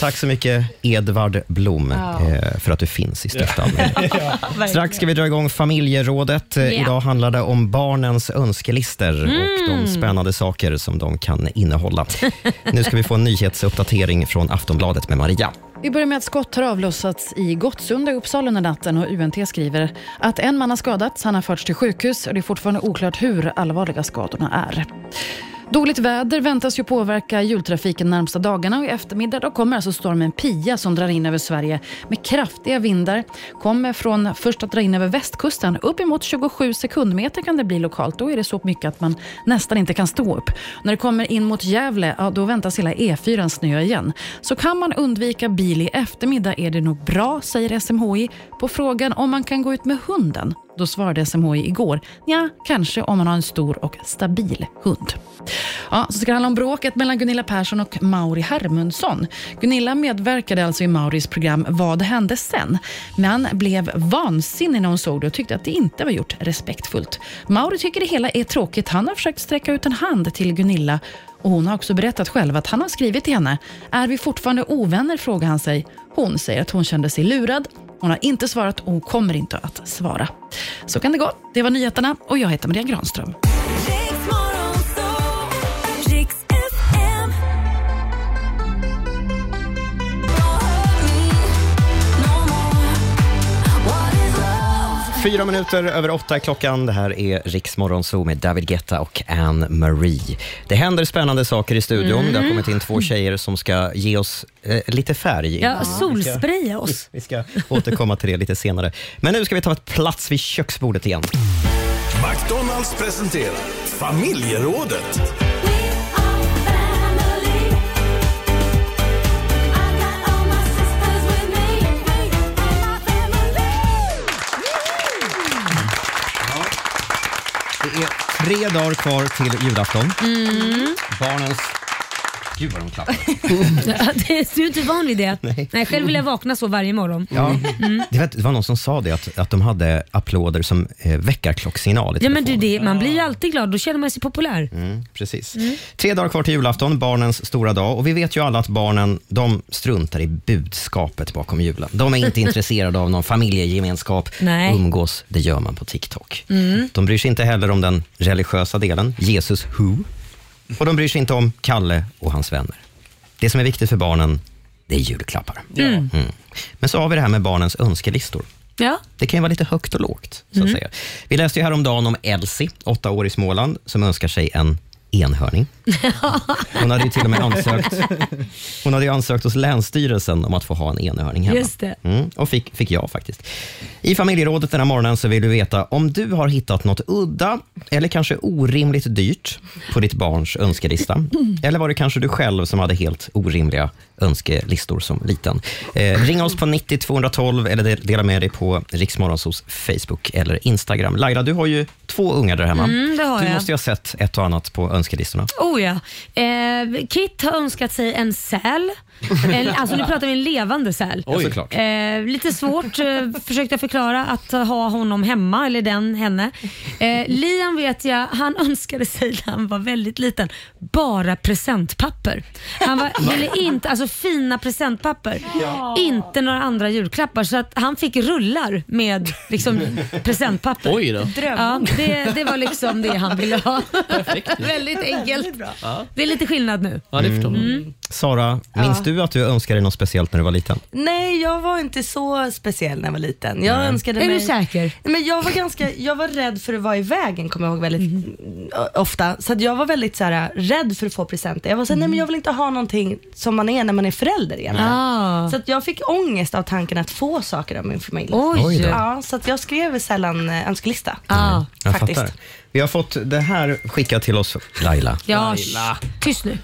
B: Tack så mycket, Edvard Blom,
C: Ja.
B: eh, för att du finns i största allmänhet.
L: Verkligen.
B: Strax ska vi dra igång familjerådet. Eh,
L: Ja.
B: Idag handlar det om barnens önskelister och
L: Mm.
B: de spännande saker som de kan innehålla. nu ska vi få en nyhetsuppdatering från Aftonbladet med Maria.
K: Vi börjar med att skott har avlossats i Gottsunda i Uppsala under natten och UNT skriver att en man har skadats, han har förts till sjukhus och det är fortfarande oklart hur allvarliga skadorna är. Dåligt väder väntas ju påverka jultrafiken närmsta dagarna och i eftermiddag då kommer alltså stormen Pia som drar in över Sverige med kraftiga vindar. Kommer från först att dra in över västkusten, uppemot 27 sekundmeter kan det bli lokalt. Då är det så mycket att man nästan inte kan stå upp. När det kommer in mot Gävle, ja, då väntas hela E4 snöa igen. Så kan man undvika bil i eftermiddag är det nog bra, säger SMHI på frågan om man kan gå ut med hunden. Då svarade SMHI igår, ja, kanske om man har en stor och stabil hund. Ja, så ska det handla om bråket mellan Gunilla Persson och Mauri Hermundsson. Gunilla medverkade alltså i Mauris program Vad hände sen? Men blev vansinnig när hon såg det och tyckte att det inte var gjort respektfullt. Mauri tycker det hela är tråkigt. Han har försökt sträcka ut en hand till Gunilla och hon har också berättat själv att han har skrivit till henne. Är vi fortfarande ovänner? frågar han sig. Hon säger att hon kände sig lurad. Hon har inte svarat och hon kommer inte att svara. Så kan det gå. Det var nyheterna och jag heter Maria Granström.
L: Riks FM.
B: Fyra minuter över åtta är klockan. Det här är Riksmorgon Zoo med David Guetta och Anne Marie. Det händer spännande saker i studion.
C: Mm.
B: Det har kommit in två tjejer som ska ge oss eh, lite färg.
C: Ja,
B: Vi
C: solspraya oss.
B: Vi ska återkomma till det lite senare. Men nu ska vi ta ett plats vid köksbordet igen.
P: McDonalds presenterar familjerådet.
B: Det är tre dagar kvar till julafton.
C: Mm.
B: Barnens... Gud vad de klappar.
C: Ja, det är, du är inte van vid det. Nej. själv vill jag vakna så varje morgon. Mm.
B: Ja. Det, var, det var någon som sa det, att, att de hade applåder som eh, väckarklockssignal. i
C: Ja, men du, det, man blir ju alltid glad, då känner man sig populär.
B: Mm, precis.
C: Mm.
B: Tre dagar kvar till julafton, barnens stora dag. Och Vi vet ju alla att barnen de struntar i budskapet bakom julen. De är inte intresserade av någon familjegemenskap.
L: Nej.
B: Umgås, det gör man på TikTok. De bryr sig inte heller om den religiösa delen, Jesus who. Och de bryr sig inte om Kalle och hans vänner. Det som är viktigt för barnen, det är julklappar.
C: Mm.
B: Mm. Men så har vi det här med barnens önskelistor.
C: Ja.
B: Det kan ju vara lite högt och lågt. Så att
C: Mm.
B: säga. Vi läste ju häromdagen om Elsie, åtta år i Småland, som önskar sig en enhörning. Hon hade ju till och med ansökt, hon hade ju ansökt hos Länsstyrelsen om att få ha en enhörning hemma.
L: Just det.
B: Mm, och fick, fick jag faktiskt. I familjerådet den här morgonen så vill du veta om du har hittat något udda eller kanske orimligt dyrt på ditt barns önskelista. Eller var det kanske du själv som hade helt orimliga önskelistor som liten? Eh, ring oss på 90 212 eller del- dela med dig på Riksmorgonsos Facebook eller Instagram. Laila, du har ju två ungar där hemma.
C: Mm, det har
B: du
C: jag.
B: måste ju ha sett ett och annat på önskelistorna.
C: Oh ja. Eh, Kit har önskat sig en säl. En, alltså nu pratar vi en levande säl.
L: Ja, såklart.
C: Eh, lite svårt eh, försökte jag förklara att ha honom hemma, eller den, henne. Eh, Liam vet jag, han önskade sig när han var väldigt liten, bara presentpapper. Han var, ville inte, alltså fina presentpapper.
L: Ja.
C: Inte några andra julklappar. Så att han fick rullar med liksom, presentpapper.
L: Oj då.
C: Ja, det, det var liksom det han ville ha. väldigt enkelt.
B: Ja.
C: Det är lite skillnad nu.
B: Ja, det förstår
C: Mm.
B: Sara, minns
H: Ja.
B: du att du önskade dig något speciellt när du var liten?
H: Nej, jag var inte så speciell när jag var liten. Jag
B: Nej.
H: önskade
C: Är
H: mig...
C: du säker?
H: Nej, Men jag, var ganska, jag var rädd för att vara i vägen, kommer jag ihåg väldigt
C: Mhm.
H: ö- ofta. Så att jag var väldigt så här, rädd för att få presenter. Jag var så här, nej
C: Mhm.
H: men jag vill inte ha någonting som man är när man är förälder egentligen.
C: Ah.
H: Så att jag fick ångest av tanken att få saker av min familj.
C: Oj. Ah, Oj då.
H: Ja, så att jag skrev sällan eh, önskelista.
B: Jag
H: Faktiskt.
B: fattar. Vi har fått det här skickat till oss, Laila.
C: Ja, shh, tyst nu.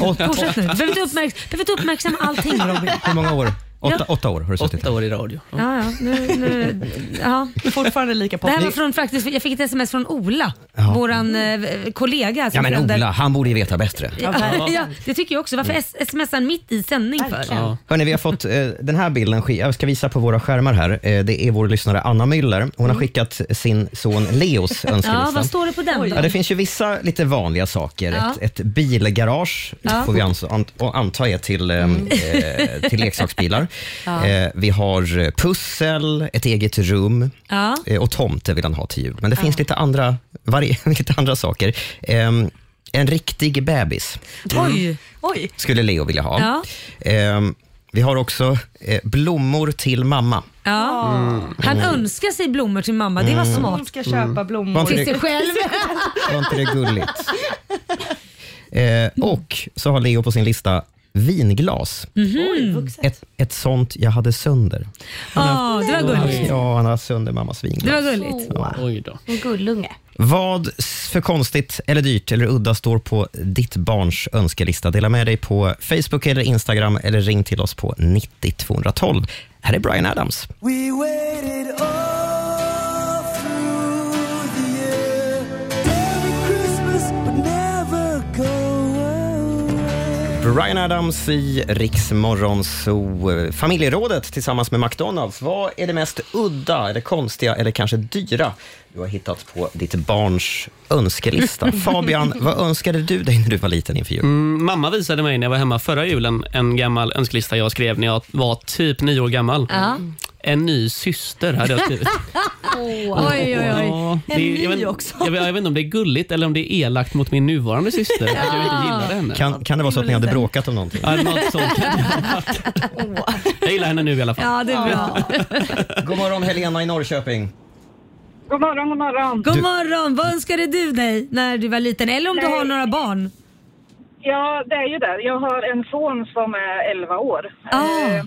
C: Fortsätt nu. Du behöver inte uppmärks- behöver inte uppmärksamma allting Robin.
B: Hur många år? Åtta,
C: Ja.
B: åtta år har du suttit Åtta år i radio.
C: Ja, ja, nu, nu, ja.
H: Fortfarande lika
C: Det här var från, faktiskt, jag fick ett sms från Ola,
B: Ja.
C: våran eh, kollega.
B: Ja,
C: som
B: men
C: förälder.
B: Ola, han borde ju veta bättre.
C: Alltså, Ja, ja, det tycker jag också. Varför s- smsar han mitt i sändning för?
B: Hörrni, vi har fått eh, den här bilden. sk- Jag ska visa på våra skärmar här. Eh, det är vår lyssnare Anna Müller. Hon har skickat sin son Leos önskelista.
C: Mm. Ja, vad står det på den då?
B: Ja, det finns ju vissa lite vanliga saker.
C: Ja.
B: Ett, ett bilgarage
C: Ja. Mm.
B: får vi ans- an- och anta är till, eh, eh, till leksaksbilar.
C: Ja.
B: Eh, vi har eh, pussel, ett eget rum
C: Ja.
B: eh, och tomte vill han ha till jul. Men det finns lite andra, vari- lite andra saker. Ehm, en riktig bebis Mm.
H: Oj. Oj.
B: skulle Leo vilja ha.
H: Ja.
B: Ehm, vi har också eh, blommor till mamma.
C: Ja.
B: Mm.
C: Han önskar sig blommor till mamma. Det var
B: Mm.
C: smart.
B: Hon ska köpa Mm. blommor. Var inte
C: till
B: det-
C: sig själv.
B: Var inte det gulligt? Eh, och så har Leo på sin lista vinglas.
C: Mhm.
B: Ett, ett sånt jag hade sönder.
C: Ja, Ah, det var gulligt.
B: Ja, han har sönder mammas vinglas.
C: Det var gulligt.
B: Ja.
C: En gullunge.
B: Vad s- för konstigt, eller dyrt eller udda står på ditt barns önskelista? Dela med dig på Facebook eller Instagram eller ring till oss på 90 212. Här är Brian Adams.
L: We waited all through the year. Merry Christmas would never go away.
B: Brian Adams i Riksmorgon Zoo. Familjerådet tillsammans med McDonalds. Vad är det mest udda, eller konstiga eller kanske dyra du har hittat på ditt barns önskelista? Fabian, vad önskade du dig när du var liten inför jul?
I: Mm, mamma visade mig när jag var hemma förra julen en gammal önskelista jag skrev när jag var typ nio år gammal.
L: Ja.
I: En ny syster hade jag skrivit.
L: Oj, oj, oj.
I: Det är- jag, vet, jag, vet, jag vet inte om det är gulligt eller om det är elakt mot min nuvarande syster. Att jag inte gillar henne.
B: Kan, kan det vara så att ni hade bråkat om någonting?
I: Ja, något sånt. Jag gillar henne nu i alla fall.
C: Ja, det är bra.
B: God morgon Helena i Norrköping.
C: God morgon, god morgon. God
B: Du-
C: morgon. Vad önskade du dig när du var liten? Eller om du
O: Nej.
C: har några barn?
O: Ja, det är ju det. Jag har en son som är 11 år.
C: Ah.
O: Eh,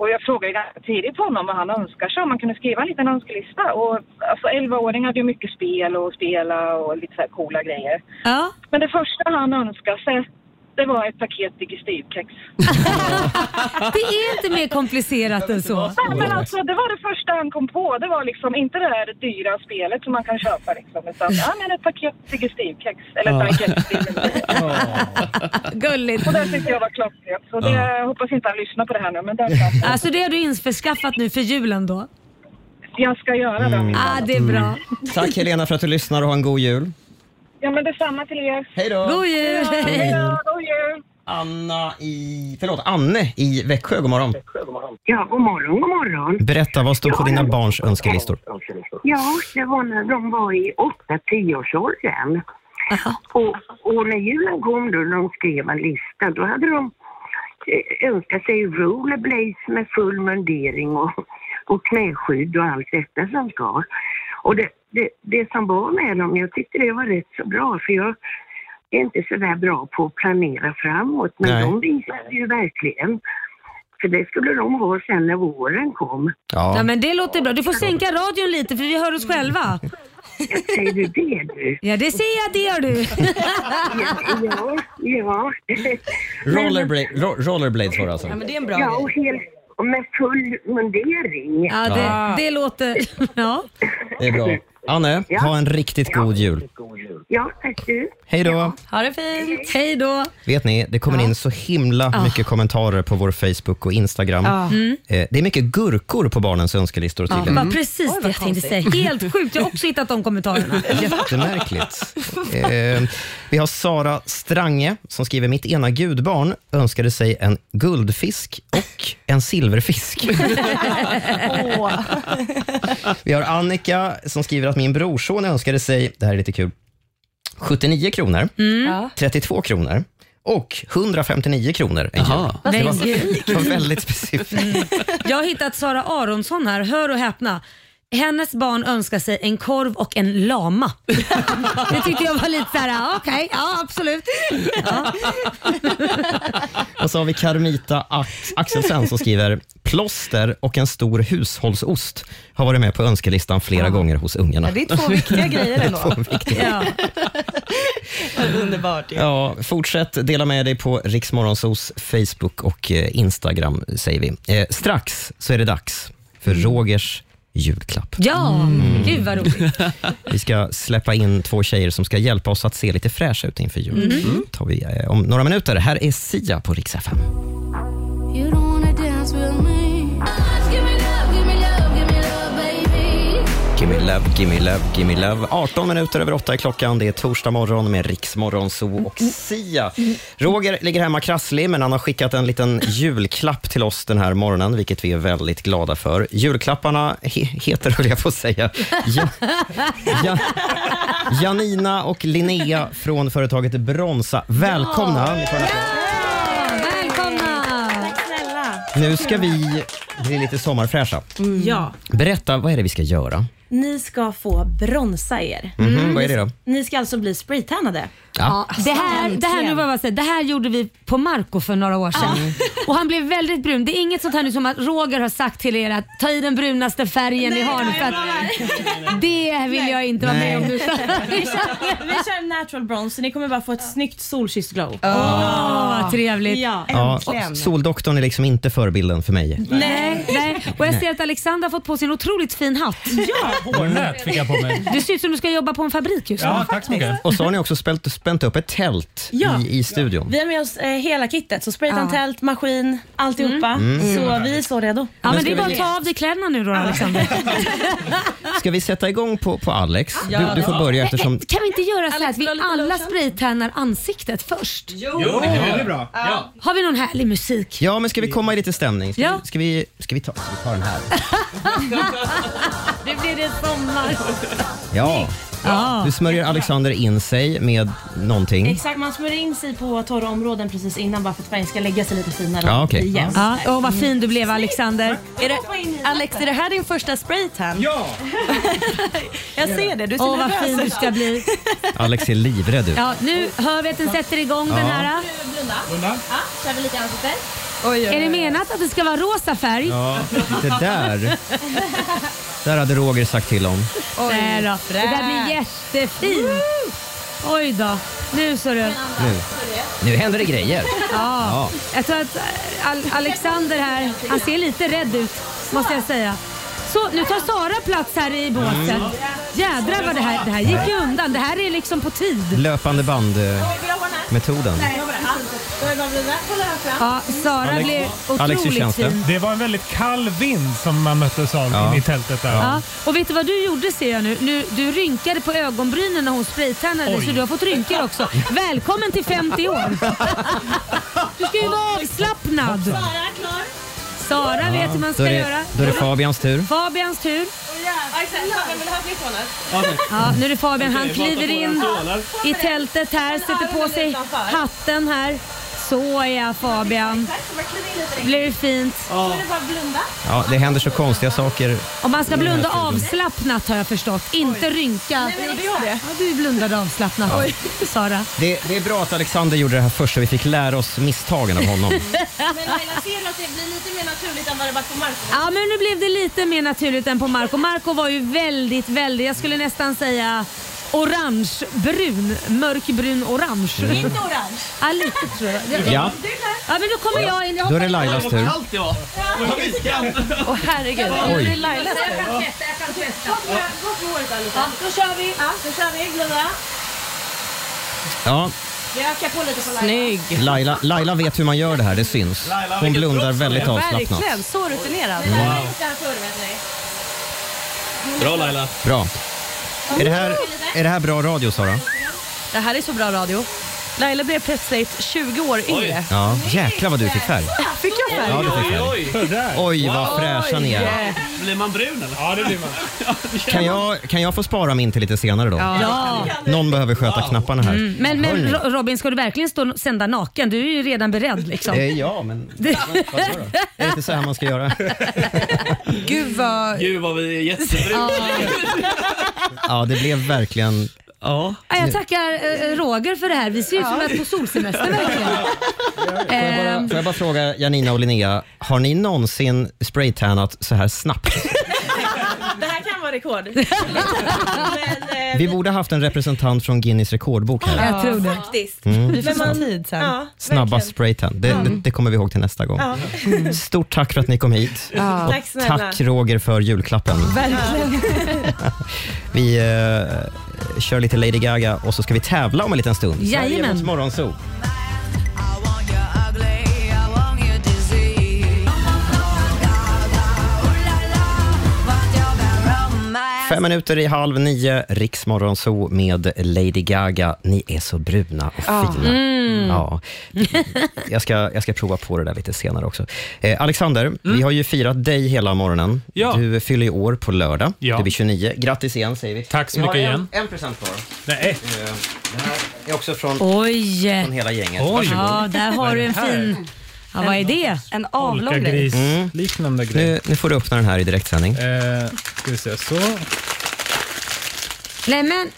O: Och jag frågade ganska tidigt honom vad han önskar sig, om man kunde skriva en liten önskelista. Och alltså 11-åringar hade ju mycket spel och spela och lite så här coola grejer.
C: Ja.
O: Men det första han önskade sig, det var ett paket digestivkex.
C: Det är inte mer komplicerat än så.
O: Nej, men alltså det var det första han kom på. Det var liksom inte det där dyra spelet som man kan köpa liksom. Utan, ja men ett paket digestivkex. Eller
L: Ja.
O: ett paket
C: Gulligt.
O: Och det tyckte jag var klockrent. Så det,
C: Ja.
O: jag hoppas inte han lyssnar på det här nu. Men det är klart.
C: Alltså det har du införskaffat nu för julen då?
O: Jag ska göra det.
B: Mm.
C: Ah, det är bra.
B: Tack Helena för att du lyssnar och ha en god jul.
O: Ja men detsamma till er.
B: Hej då.
C: God jul.
O: Hej då. God jul.
B: Anna i... Förlåt, Anne i Växjö, god morgon.
S: Ja, god morgon, god morgon.
B: Berätta, vad står på dina barns önskelistor?
S: Ja, det var när de var i 8-10-årsåldern. Och, och när julen kom då, när de skrev en lista, då hade de eh, önskat sig rollerblades med full mundering och, och knäskydd och allt detta som ska. Och det, det, det som var med dem, jag tyckte det var rätt så bra, för jag är inte så där bra på att planera framåt, men
B: Nej.
S: de visade ju verkligen. För det skulle de ha sen när våren kom.
C: Ja men det låter bra. Du får sänka radion lite för vi hör oss själva.
S: Säger du det du?
C: Ja det ser jag, det gör du.
S: ja, ja.
B: Rollerblade, ro, rollerblades var det alltså?
S: det är en bra ja, och helt, och med full mundering.
C: Ja,
B: Ja.
C: det, det låter... Ja.
B: Det Ah. är bra. Anne,
S: Ja.
B: ha en riktigt god jul.
S: Ja, tack du.
B: Hej då.
C: Ha det fint. Hej då.
B: Vet ni, det kommer in så himla
C: Ah.
B: mycket kommentarer på vår Facebook och Instagram.
C: Ah. Mm. Ah.
B: Eh, Det är mycket gurkor på barnens önskelistor
C: Ja, det
B: tydligen.
C: var precis det jag tänkte säga. Helt sjukt. Jag har också hittat de kommentarerna.
B: Jättemärkligt. Eh, vi har Sara Strange som skriver, mitt ena gudbarn önskade sig en guldfisk och en silverfisk. Vi har Annika som skriver att min brorson önskade sig, det här är lite kul, 79 kronor, 32 kronor och 159 kronor en jul.
C: Vad
B: Det var,
C: specifikt.
B: det var väldigt specifikt.
C: Jag har hittat Sara Aronsson här. Hör och häpna. Hennes barn önskar sig en korv och en lama. Det tyckte jag var lite såhär, okej, ja absolut. Ja.
B: Och så har vi Carmita Ax- Axelsen som skriver plåster och en stor hushållsost har varit med på önskelistan flera gånger hos ungarna.
H: Ja, det är två viktiga grejer
B: Det är
H: ändå.
B: två viktiga.
H: Ja. Underbart ju.
B: Ja, fortsätt dela med dig på Riksmorgonsos Facebook och eh, Instagram säger vi. Eh, strax så är det dags för Rogers julklapp.
C: Ja,
B: Mm.
C: gud vad roligt.
B: Vi ska släppa in två tjejer som ska hjälpa oss att se lite fräscha ut inför jul.
L: Mm.
B: Mm. tar vi eh, om några minuter. Här är Sia på Rix FM.
L: You don't wanna dance with me. Give me love, give me love, give me love, baby.
B: Gimme love, gimme love, gimme love. 18 minuter över 8 är klockan. Det är torsdag morgon med Riksmorgon Zoo och Sia. Roger ligger hemma krasslig, men han har skickat en liten julklapp till oss den här morgonen, vilket vi är väldigt glada för. Julklapparna he heter, höll jag på att säga, ja, ja, Janina och Linnea från företaget Bronsa. Välkomna! Ni får en applåd.
C: Välkomna!
L: Tack snälla.
B: Nu ska vi bli lite sommarfräscha.
T: Mm. Ja,
B: Berätta, vad är det vi ska göra?
T: ni ska få bronsa er.
B: Mhm, vad är det då?
T: Ni ska alltså bli spraytannade.
B: Ja.
T: Alltså,
C: Det här, det, här, nu
T: äntligen.
C: var jag säga, det här gjorde vi på Marco för några år sedan. Och han blev väldigt brun. Det är inget sånt här nu som att Roger har sagt till er att ta i den brunaste färgen ni har. nu, För att det vill jag inte vara med om.
T: vi
C: nu.
T: kör, vi kör natural bronze så ni kommer bara få ett snyggt solkysst glow.
C: Åh, vad trevligt.
T: Ja,
B: Ah. Ja,
T: äntligen.
B: soldoktorn är liksom inte förebilden för mig.
C: Nej, nej. Och jag
B: Nej.
C: ser att Alexander har fått på sig en otroligt fin hatt. Ja,
B: hårnät fick jag på mig.
C: Du ser ut som du ska jobba på en fabrik just nu.
B: Och så har ni också spänt, spänt upp ett tält
T: Ja.
B: i, i studion.
T: Vi har med oss eh, hela kittet, så spraytan,
C: Ja.
T: tält, maskin, alltihopa.
B: Mm. Mm.
T: Så vi är så redo.
B: Ja, men Men det är ska bara vi- att
C: ta av dig kläderna nu då Alexander.
B: Ska vi sätta igång på, på Alex?
T: Ja.
B: Du, du får börja eftersom...
C: Eh, Kan vi inte göra så här att vi alla spraytannar ansiktet först? Jo,
B: Jo, det är väldigt bra.
C: Har vi någon härlig musik?
B: Ja, men ska vi komma i lite stämning? Ska,
C: Ja.
B: vi, ska, vi, ska vi ta ska vi tar den här?
T: Nu blir det sommar.
B: Ja.
T: Ja.
B: Du smörjer Alexander in sig med någonting.
T: Exakt, man smörjer in sig på torra områden precis innan bara för att färgen ska lägga sig lite finare.
B: Ja, okej.
T: igen.
C: Ja, åh, vad fin du blev Alexander.
T: Är det, Alex, är det här din första spraytan? Ja! Jag ser det, du ser
C: Åh, vad
T: nervös
C: fin du
T: ut.
C: ska bli.
B: Alex är livrädd ut.
C: Ja, nu hör vi att den sätter igång den
B: Ja.
C: här.
T: Blunda.
B: Blunda.
T: Ja, kör vi lite ansikte.
C: Är det menat att det ska vara rosa färg?
B: Ja, det där. Där hade Roger sagt till om.
C: Nej då. Det där blir jättefint. Oj då. Nu så du.
B: Nu, nu händer det grejer.
C: Ja. Jag tror att eh, Al- Alexander här, han ser lite rädd ut måste jag säga. Så, nu tar Sara plats här i båset.
B: Mm.
C: Jädrar vad det här, det här gick ju undan. Det här är liksom på tid.
B: Löpande eh, band-metoden.
C: Ja, Sara
D: Alex-
C: blev otroligt fin.
D: Det var en väldigt kall vind som man möttes av inne i tältet där.
C: Ja. Och vet du vad du gjorde ser jag nu? nu du rynkade på ögonbrynen när hon spraytannade
D: Oj.
C: så du har fått rynkor också. Välkommen till 50 år! Du ska ju vara avslappnad. Sara
B: Ja,
C: vet hur man
B: då
C: ska
B: är det,
C: göra.
B: Då är det Fabians tur.
C: Fabians tur.
T: Vill du ha fler toner?
C: Ja, nu är det Fabian. Han
T: Okej, bara ta på
C: kliver
T: den
C: in
T: trålen.
C: i tältet här, sätter på sig hatten här. Så ja, Fabian. Blir det fint.
B: Ja, det händer så konstiga saker.
C: Och man ska
B: i den här
C: blunda
B: studion.
C: avslappnat har jag förstått, inte rynka. Nej, men gjorde jag det? Ja, du blundade avslappnat, Sara.
B: Det, det är bra att Alexander gjorde det här först så vi fick lära oss misstagen av honom.
T: Men Laila, ser du att det blir lite mer naturligt än vad det var på Marco?
C: Ja, men nu blev det lite mer naturligt än på Marco. Marco var ju väldigt, väldigt, jag skulle nästan säga orangebrun, mörkbrun orange.
T: Mm. Inte orange.
C: Ja, lite tror jag. Det-
B: Ja.
C: ja, men då kommer jag in. Jag
B: Då är det
C: hoppar in.
B: Lailas tur.
C: Åh herregud.
T: Oj.
C: Nu är det Lailas tur.
T: Gå på håret Alice. Då kör vi. Ja, då kör vi. Blunda.
B: Ja,
C: Vi ökar på lite på
H: Snygg.
B: Laila, Laila vet hur man gör det här, det syns.
H: Laila,
B: Hon
H: vilket
B: blundar
H: proffs hon är.
B: väldigt avslappnat.
H: Verkligen, så rutinerad.
B: Wow. Laila har
C: gjort det här förr vet ni.
A: Bra Laila.
B: Bra. Är det här, är det här bra radio, Sara?
H: Det här är så bra radio. Laila blev plötsligt 20 år yngre.
B: Ja. Jäklar vad du fick färg.
H: Fick jag färg?
B: Ja, du fick
I: Oj,
B: färg. Oj, vad fräscha ni är.
I: Blir man brun eller? Ja, det blir man.
B: Kan jag, kan jag få spara min till lite senare då?
C: Ja. Ja.
B: Någon behöver sköta knapparna här.
C: Mm, men men
B: Hörni.
C: Ro- Robin, ska du verkligen stå och sända naken? Du är ju redan beredd liksom.
B: Eh, ja, men
C: Det-
B: är det inte så här man ska göra?
H: Gud vad...
I: Gud vad vi är jättebruna.
B: Ja, det blev verkligen...
I: Ja.
C: Ja, jag tackar eh, Roger för det här. Vi ser ut som att på solsemester verkligen. Ehm,
B: Får jag bara fråga Janina och Linnea, har ni någonsin spraytannat så här snabbt?
F: Det här kan vara rekord.
T: eh,
B: Vi borde haft en representant från Guinness rekordbok här.
F: Ja, Faktiskt.
B: Mm.
F: Vi får ta
H: tid sen.
F: Ja,
B: Snabbast spraytan. Det, det, det kommer vi ihåg till nästa gång.
F: Ja.
B: Stort tack för att ni kom hit.
F: Ja.
B: Och
F: Tack snälla.
B: tack Roger för julklappen.
H: Verkligen.
B: Vi eh, kör lite Lady Gaga och så ska vi tävla om en liten stund.
L: Jajamän.
B: Sverige mot Morgonzoo. Fem minuter i halv nio, Riksmorgonzoo med Lady Gaga. Ni är så bruna och
L: Ja.
B: fina.
L: Mm.
B: Ja. Jag, ska, jag ska prova på det där lite senare också. Eh, Alexander,
D: Mm.
B: vi har ju firat dig hela morgonen. Du fyller ju år på lördag. Du blir 29. Grattis igen säger vi. Tack
D: så mycket igen.
B: En procent kvar. Nej. Det här är också från,
C: Oj.
B: från hela gänget.
C: ja, där har du en fin... Ja, vad är det? Mm.
H: En
C: avlång grej.
B: liknande grej. Mm. Nu, nu får du öppna den här i direktsändning.
D: Eh, ska vi se, så.
C: Nej men,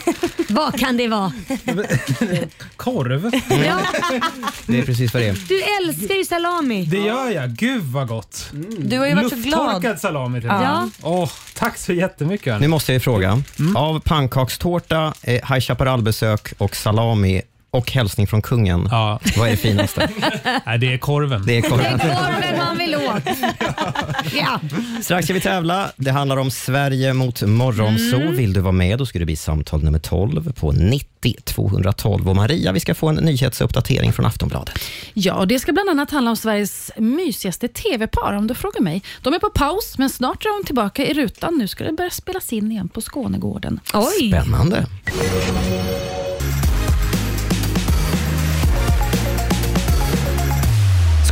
C: vad kan det vara?
D: Korv.
C: Ja,
B: Det är precis vad det är.
C: du älskar ju salami.
D: Det gör jag. Gud vad gott.
C: Du har ju varit så glad.
D: Lufttorkad salami till
C: Ja.
D: Åh, Tack så jättemycket.
B: Nu måste jag ju fråga.
D: Mm.
B: Av pannkakstårta, eh, High Chaparral-besök och salami och hälsning från kungen, vad är det finaste?
D: Nej, det är korven.
B: Det är korven.
C: Korven man vill åt. Ja.
B: Strax ska vi tävla. Det handlar om Sverige mot Morgonzoo.
D: Mm.
B: Vill du vara med då ska du bli samtal nummer 12 på 90 212. Och Maria, vi ska få en nyhetsuppdatering från Aftonbladet.
K: Ja, och det ska bland annat handla om Sveriges mysigaste tv-par om du frågar mig. De är på paus, men snart är de tillbaka i rutan. Nu ska det börja spelas in igen på Skånegården.
B: Spännande.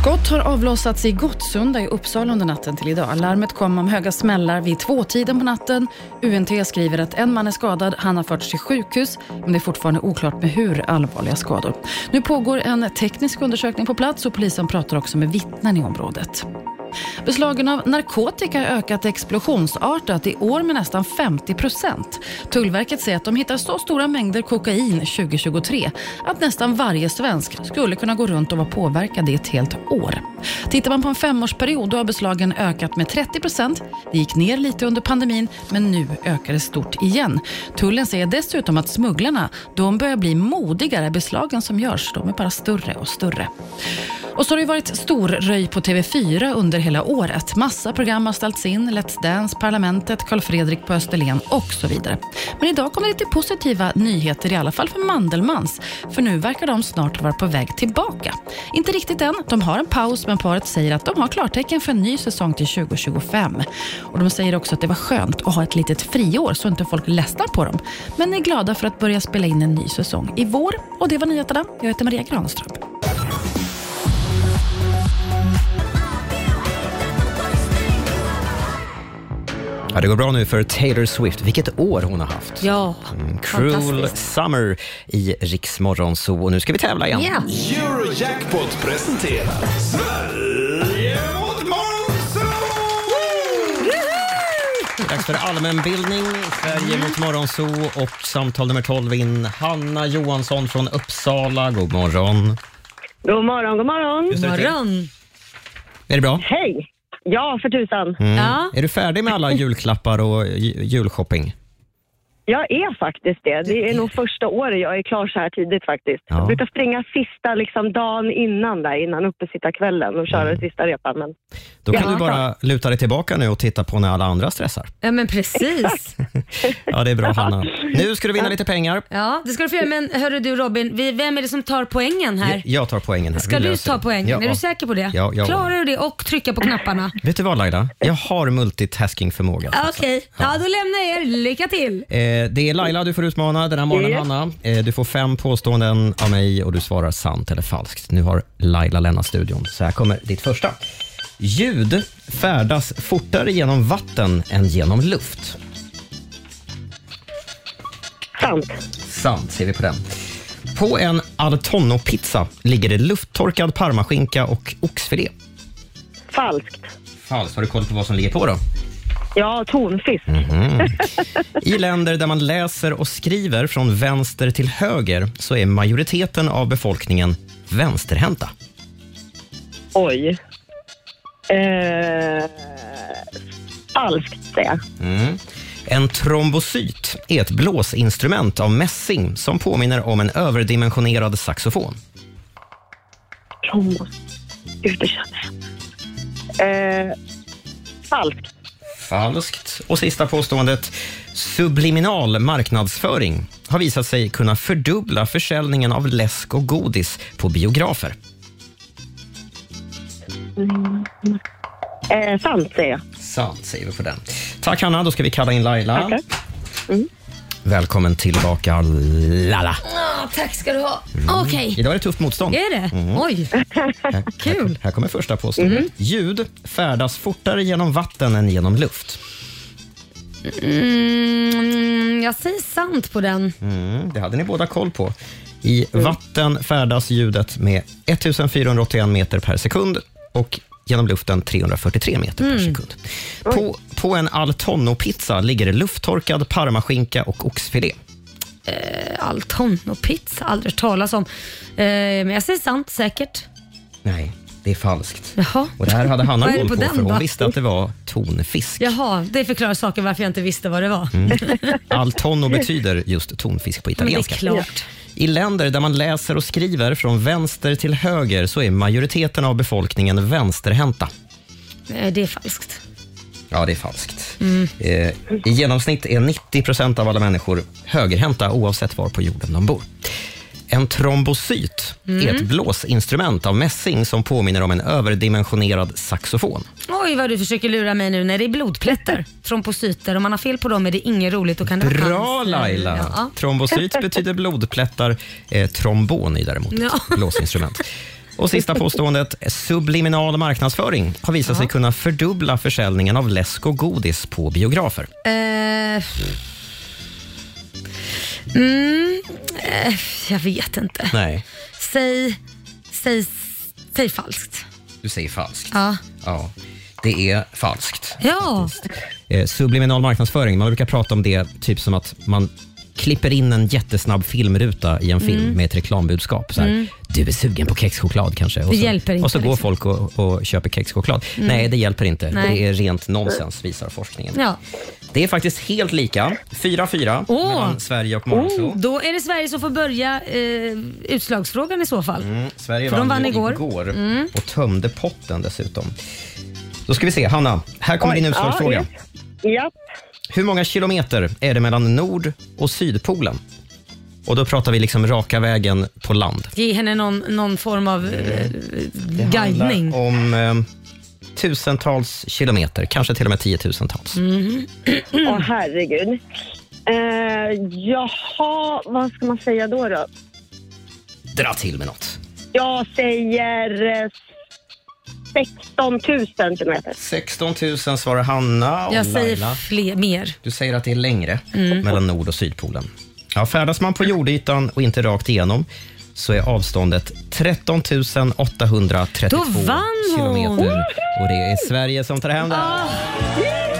K: Skott har avlossats i Gottsunda i Uppsala under natten till idag. Larmet kom om höga smällar vid tvåtiden på natten. UNT skriver att en man är skadad, han har förts till sjukhus, men det är fortfarande oklart med hur allvarliga skador. Nu pågår en teknisk undersökning på plats och polisen pratar också med vittnen i området. Beslagen av narkotika har ökat explosionsartat i år med nästan 50 procent. Tullverket säger att de hittar så stora mängder kokain 2023 att nästan varje svensk skulle kunna gå runt och vara påverkad i ett helt år. Tittar man på en femårsperiod då har beslagen ökat med 30 procent. Det gick ner lite under pandemin, men nu ökar det stort igen. Tullen säger dessutom att smugglarna de börjar bli modigare. Beslagen som görs de är bara större och större. Och så har det ju varit stor röj på TV4 under hela året. Massa program har ställts in, Let's Dance, Parlamentet, Karl Fredrik på Österlen och så vidare. Men idag kommer det lite positiva nyheter i alla fall för Mandelmans. För nu verkar de snart vara på väg tillbaka. Inte riktigt än, de har en paus men paret säger att de har klartecken för en ny säsong till 2025. Och de säger också att det var skönt att ha ett litet friår så inte folk ledsnar på dem. Men är glada för att börja spela in en ny säsong i vår. Och det var nyheterna. Jag heter Maria Granström.
B: Ja, det går bra nu för Taylor Swift. Vilket år hon har haft.
C: Ja,
B: Mm, Cruel
C: fantastiskt.
B: Summer i Riksmorgonzoo. Och nu ska vi tävla igen.
C: Ja.
P: Eurojackpot presenterar Sverige mot
B: Dags för allmänbildning, Sverige mot Morgonzoo och samtal nummer 12 in. Hanna Johansson från Uppsala, god morgon.
F: God morgon, god morgon.
B: Just det, God morgon. Är det bra?
F: Hej. Ja, för tusan.
B: Mm. Är du färdig med alla julklappar och ju- julshopping?
G: Jag är faktiskt det. Det är nog första året jag är klar så här tidigt faktiskt.
L: Ja.
G: Jag brukar springa sista liksom, dagen innan där, innan uppesittarkvällen och köra sista repan. Men...
B: Då kan
G: Ja.
B: du bara luta dig tillbaka nu och titta på när alla andra stressar.
C: Ja men precis.
B: Ja, det är bra Hanna. Nu ska du vinna lite pengar.
C: Ja, det ska du få göra. Men hörru du Robin, vi, vem är det som tar poängen här?
B: Jag, jag tar poängen här.
C: Ska
B: Vi
C: du
B: löser
C: ta
B: det.
C: poängen?
B: Ja.
C: Är du säker på det?
B: Ja, ja.
C: Klarar du det och trycka på knapparna?
B: Vet du vad Laila? Jag har multitasking-förmåga.
C: Okej, ja då lämnar jag er. Lycka till!
B: Eh, det är Laila du får utmana den här morgonen,
C: Ja.
B: Hanna. Eh, du får fem påståenden av mig och du svarar sant eller falskt. Nu har Laila lämnat studion, så här kommer ditt första. Ljud färdas fortare genom vatten än genom luft.
G: Sant.
B: Sant, ser vi på den. På en al tonno-pizza ligger det lufttorkad parmaskinka och oxfilé.
G: Falskt.
B: Falskt. Har du koll på vad som ligger på då?
G: Ja, tonfisk.
B: Mhm. I länder där man läser och skriver från vänster till höger så är majoriteten av befolkningen vänsterhänta.
G: Oj. Eh, falskt säger jag.
B: Mm. En trombocyt är ett blåsinstrument av mässing som påminner om en överdimensionerad saxofon.
G: Trombos. Gud, det känner jag. Eh, falskt.
B: Falskt. Och sista påståendet. Subliminal marknadsföring har visat sig kunna fördubbla försäljningen av läsk och godis på biografer.
G: Mm. Eh, sant säger jag.
B: Sant säger vi på den. Tack Hanna, då ska vi kalla in Laila.
G: Tackar. Mm.
B: Välkommen tillbaka Laila.
C: Ah, tack ska du ha. Okej.
B: Idag är det tufft motstånd.
C: Är det?
B: Mm.
C: Oj. Mhm. Kul.
B: Här kommer första påståendet. Ljud färdas fortare genom vatten än genom luft.
C: Mm, jag säger sant på den.
B: Mm, det hade ni båda koll på. I
C: Mm.
B: vatten färdas ljudet med 1481 meter per sekund och genom luften 343 meter. Mm. På, på en al tonno-pizza ligger det lufttorkad parmaskinka och oxfilé.
C: Eh, Alton och pizza, aldrig hört talas om. Eh, men jag säger sant säkert.
B: Nej, det är falskt.
C: Jaha.
B: Och det här hade Hanna
C: Vad är det
B: koll på,
C: på den
B: för hon
C: då?
B: visste att det var tonfisk.
C: Jaha, det förklarar saker varför jag inte visste vad det var.
B: Mm. Al tonno betyder just tonfisk på
C: Men det är
B: italienska.
C: klart.
B: I länder där man läser och skriver från vänster till höger så är majoriteten av befolkningen vänsterhänta.
C: Eh, det är falskt.
B: Ja, det är falskt.
C: Mm.
B: Eh, I genomsnitt är 90 procent av alla människor högerhänta oavsett var på jorden de bor. En trombocyt
C: Mm.
B: är ett blåsinstrument av mässing som påminner om en överdimensionerad saxofon.
C: Oj vad du försöker lura mig nu när det är blodplättar, trombocyter. Om man har fel på dem är det inget roligt. Och kan det vara
B: Bra
C: cancer.
B: Laila!
C: Ja.
B: Trombocyt betyder blodplättar. Eh, trombon är däremot
C: Ja.
B: ett blåsinstrument. Och sista påståendet. Subliminal marknadsföring har visat sig kunna fördubbla försäljningen av läsk och godis på biografer.
C: Eh, mm, eh, jag vet inte.
B: Nej,
C: Säg, säg, säg falskt.
B: du säger falskt.
C: Ja.
B: Ja, det är falskt.
C: Ja.
B: Eh, subliminal marknadsföring, man brukar prata om det typ som att man klipper in en jättesnabb filmruta i en film
C: Mm.
B: med ett reklambudskap. Så här,
C: Mm.
B: Du är sugen på kexchoklad kanske?
C: Det
B: så,
C: hjälper inte,
B: Och så går
C: liksom.
B: folk och, och köper kexchoklad.
C: Mm.
B: Nej, det hjälper inte.
C: Nej.
B: Det är rent nonsens, visar forskningen.
C: Ja.
B: Det är faktiskt helt lika. 4-4
C: Åh.
B: mellan Sverige och Morgonzoo.
C: Oh, då är det Sverige som får börja eh, utslagsfrågan i så fall.
B: Mm, Sverige
C: För de
B: vann,
C: vann
B: ju
C: igår.
B: igår,
C: Mm.
B: och tömde potten dessutom. Då ska vi se, Hanna. Här kommer
G: Oj,
B: din
G: ja,
B: utslagsfråga.
G: Ja,
B: Hur många kilometer är det mellan Nord och Sydpolen? Och då pratar vi liksom raka vägen på land.
C: Ge henne någon, någon form av eh, guidning.
B: handlar om eh, tusentals kilometer, kanske till och med tiotusentals.
G: Åh herregud. Eh, jaha, vad ska man säga då? då?
B: Dra till med något.
G: Jag säger eh, 16 000 kilometer.
B: 16 000 svarar Hanna och
G: Jag säger
B: Laila.
C: Fler, mer.
B: Du säger att det är längre
G: Mm.
B: mellan Nord och Sydpolen. Ja, färdas man på jordytan och inte rakt igenom så är avståndet 13 832
C: Då vann hon!
B: kilometer. Och det är Sverige som tar hem det. här.
C: Ah.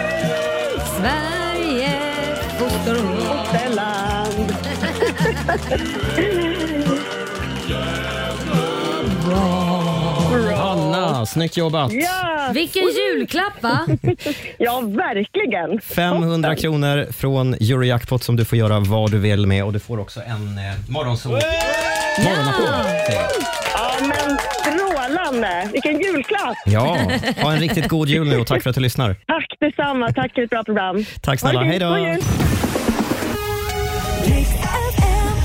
C: Sverige, fosterland.
B: Hanna, Snyggt jobbat!
G: Ja!
C: Vilken julklapp va?
G: ja, verkligen.
B: 500 kronor från Eurojackpot som du får göra vad du vill med och du får också en eh, morgonsol. Morgonapplåd! säger jag.
G: Ja, men strålande. Vilken julklapp.
B: Ja, ha en riktigt god jul nu och tack för att du lyssnar.
G: Tack detsamma. Tack för ett bra program.
B: Tack snälla.
G: Ha det
B: Hej
G: fint.
B: då.
G: God jul.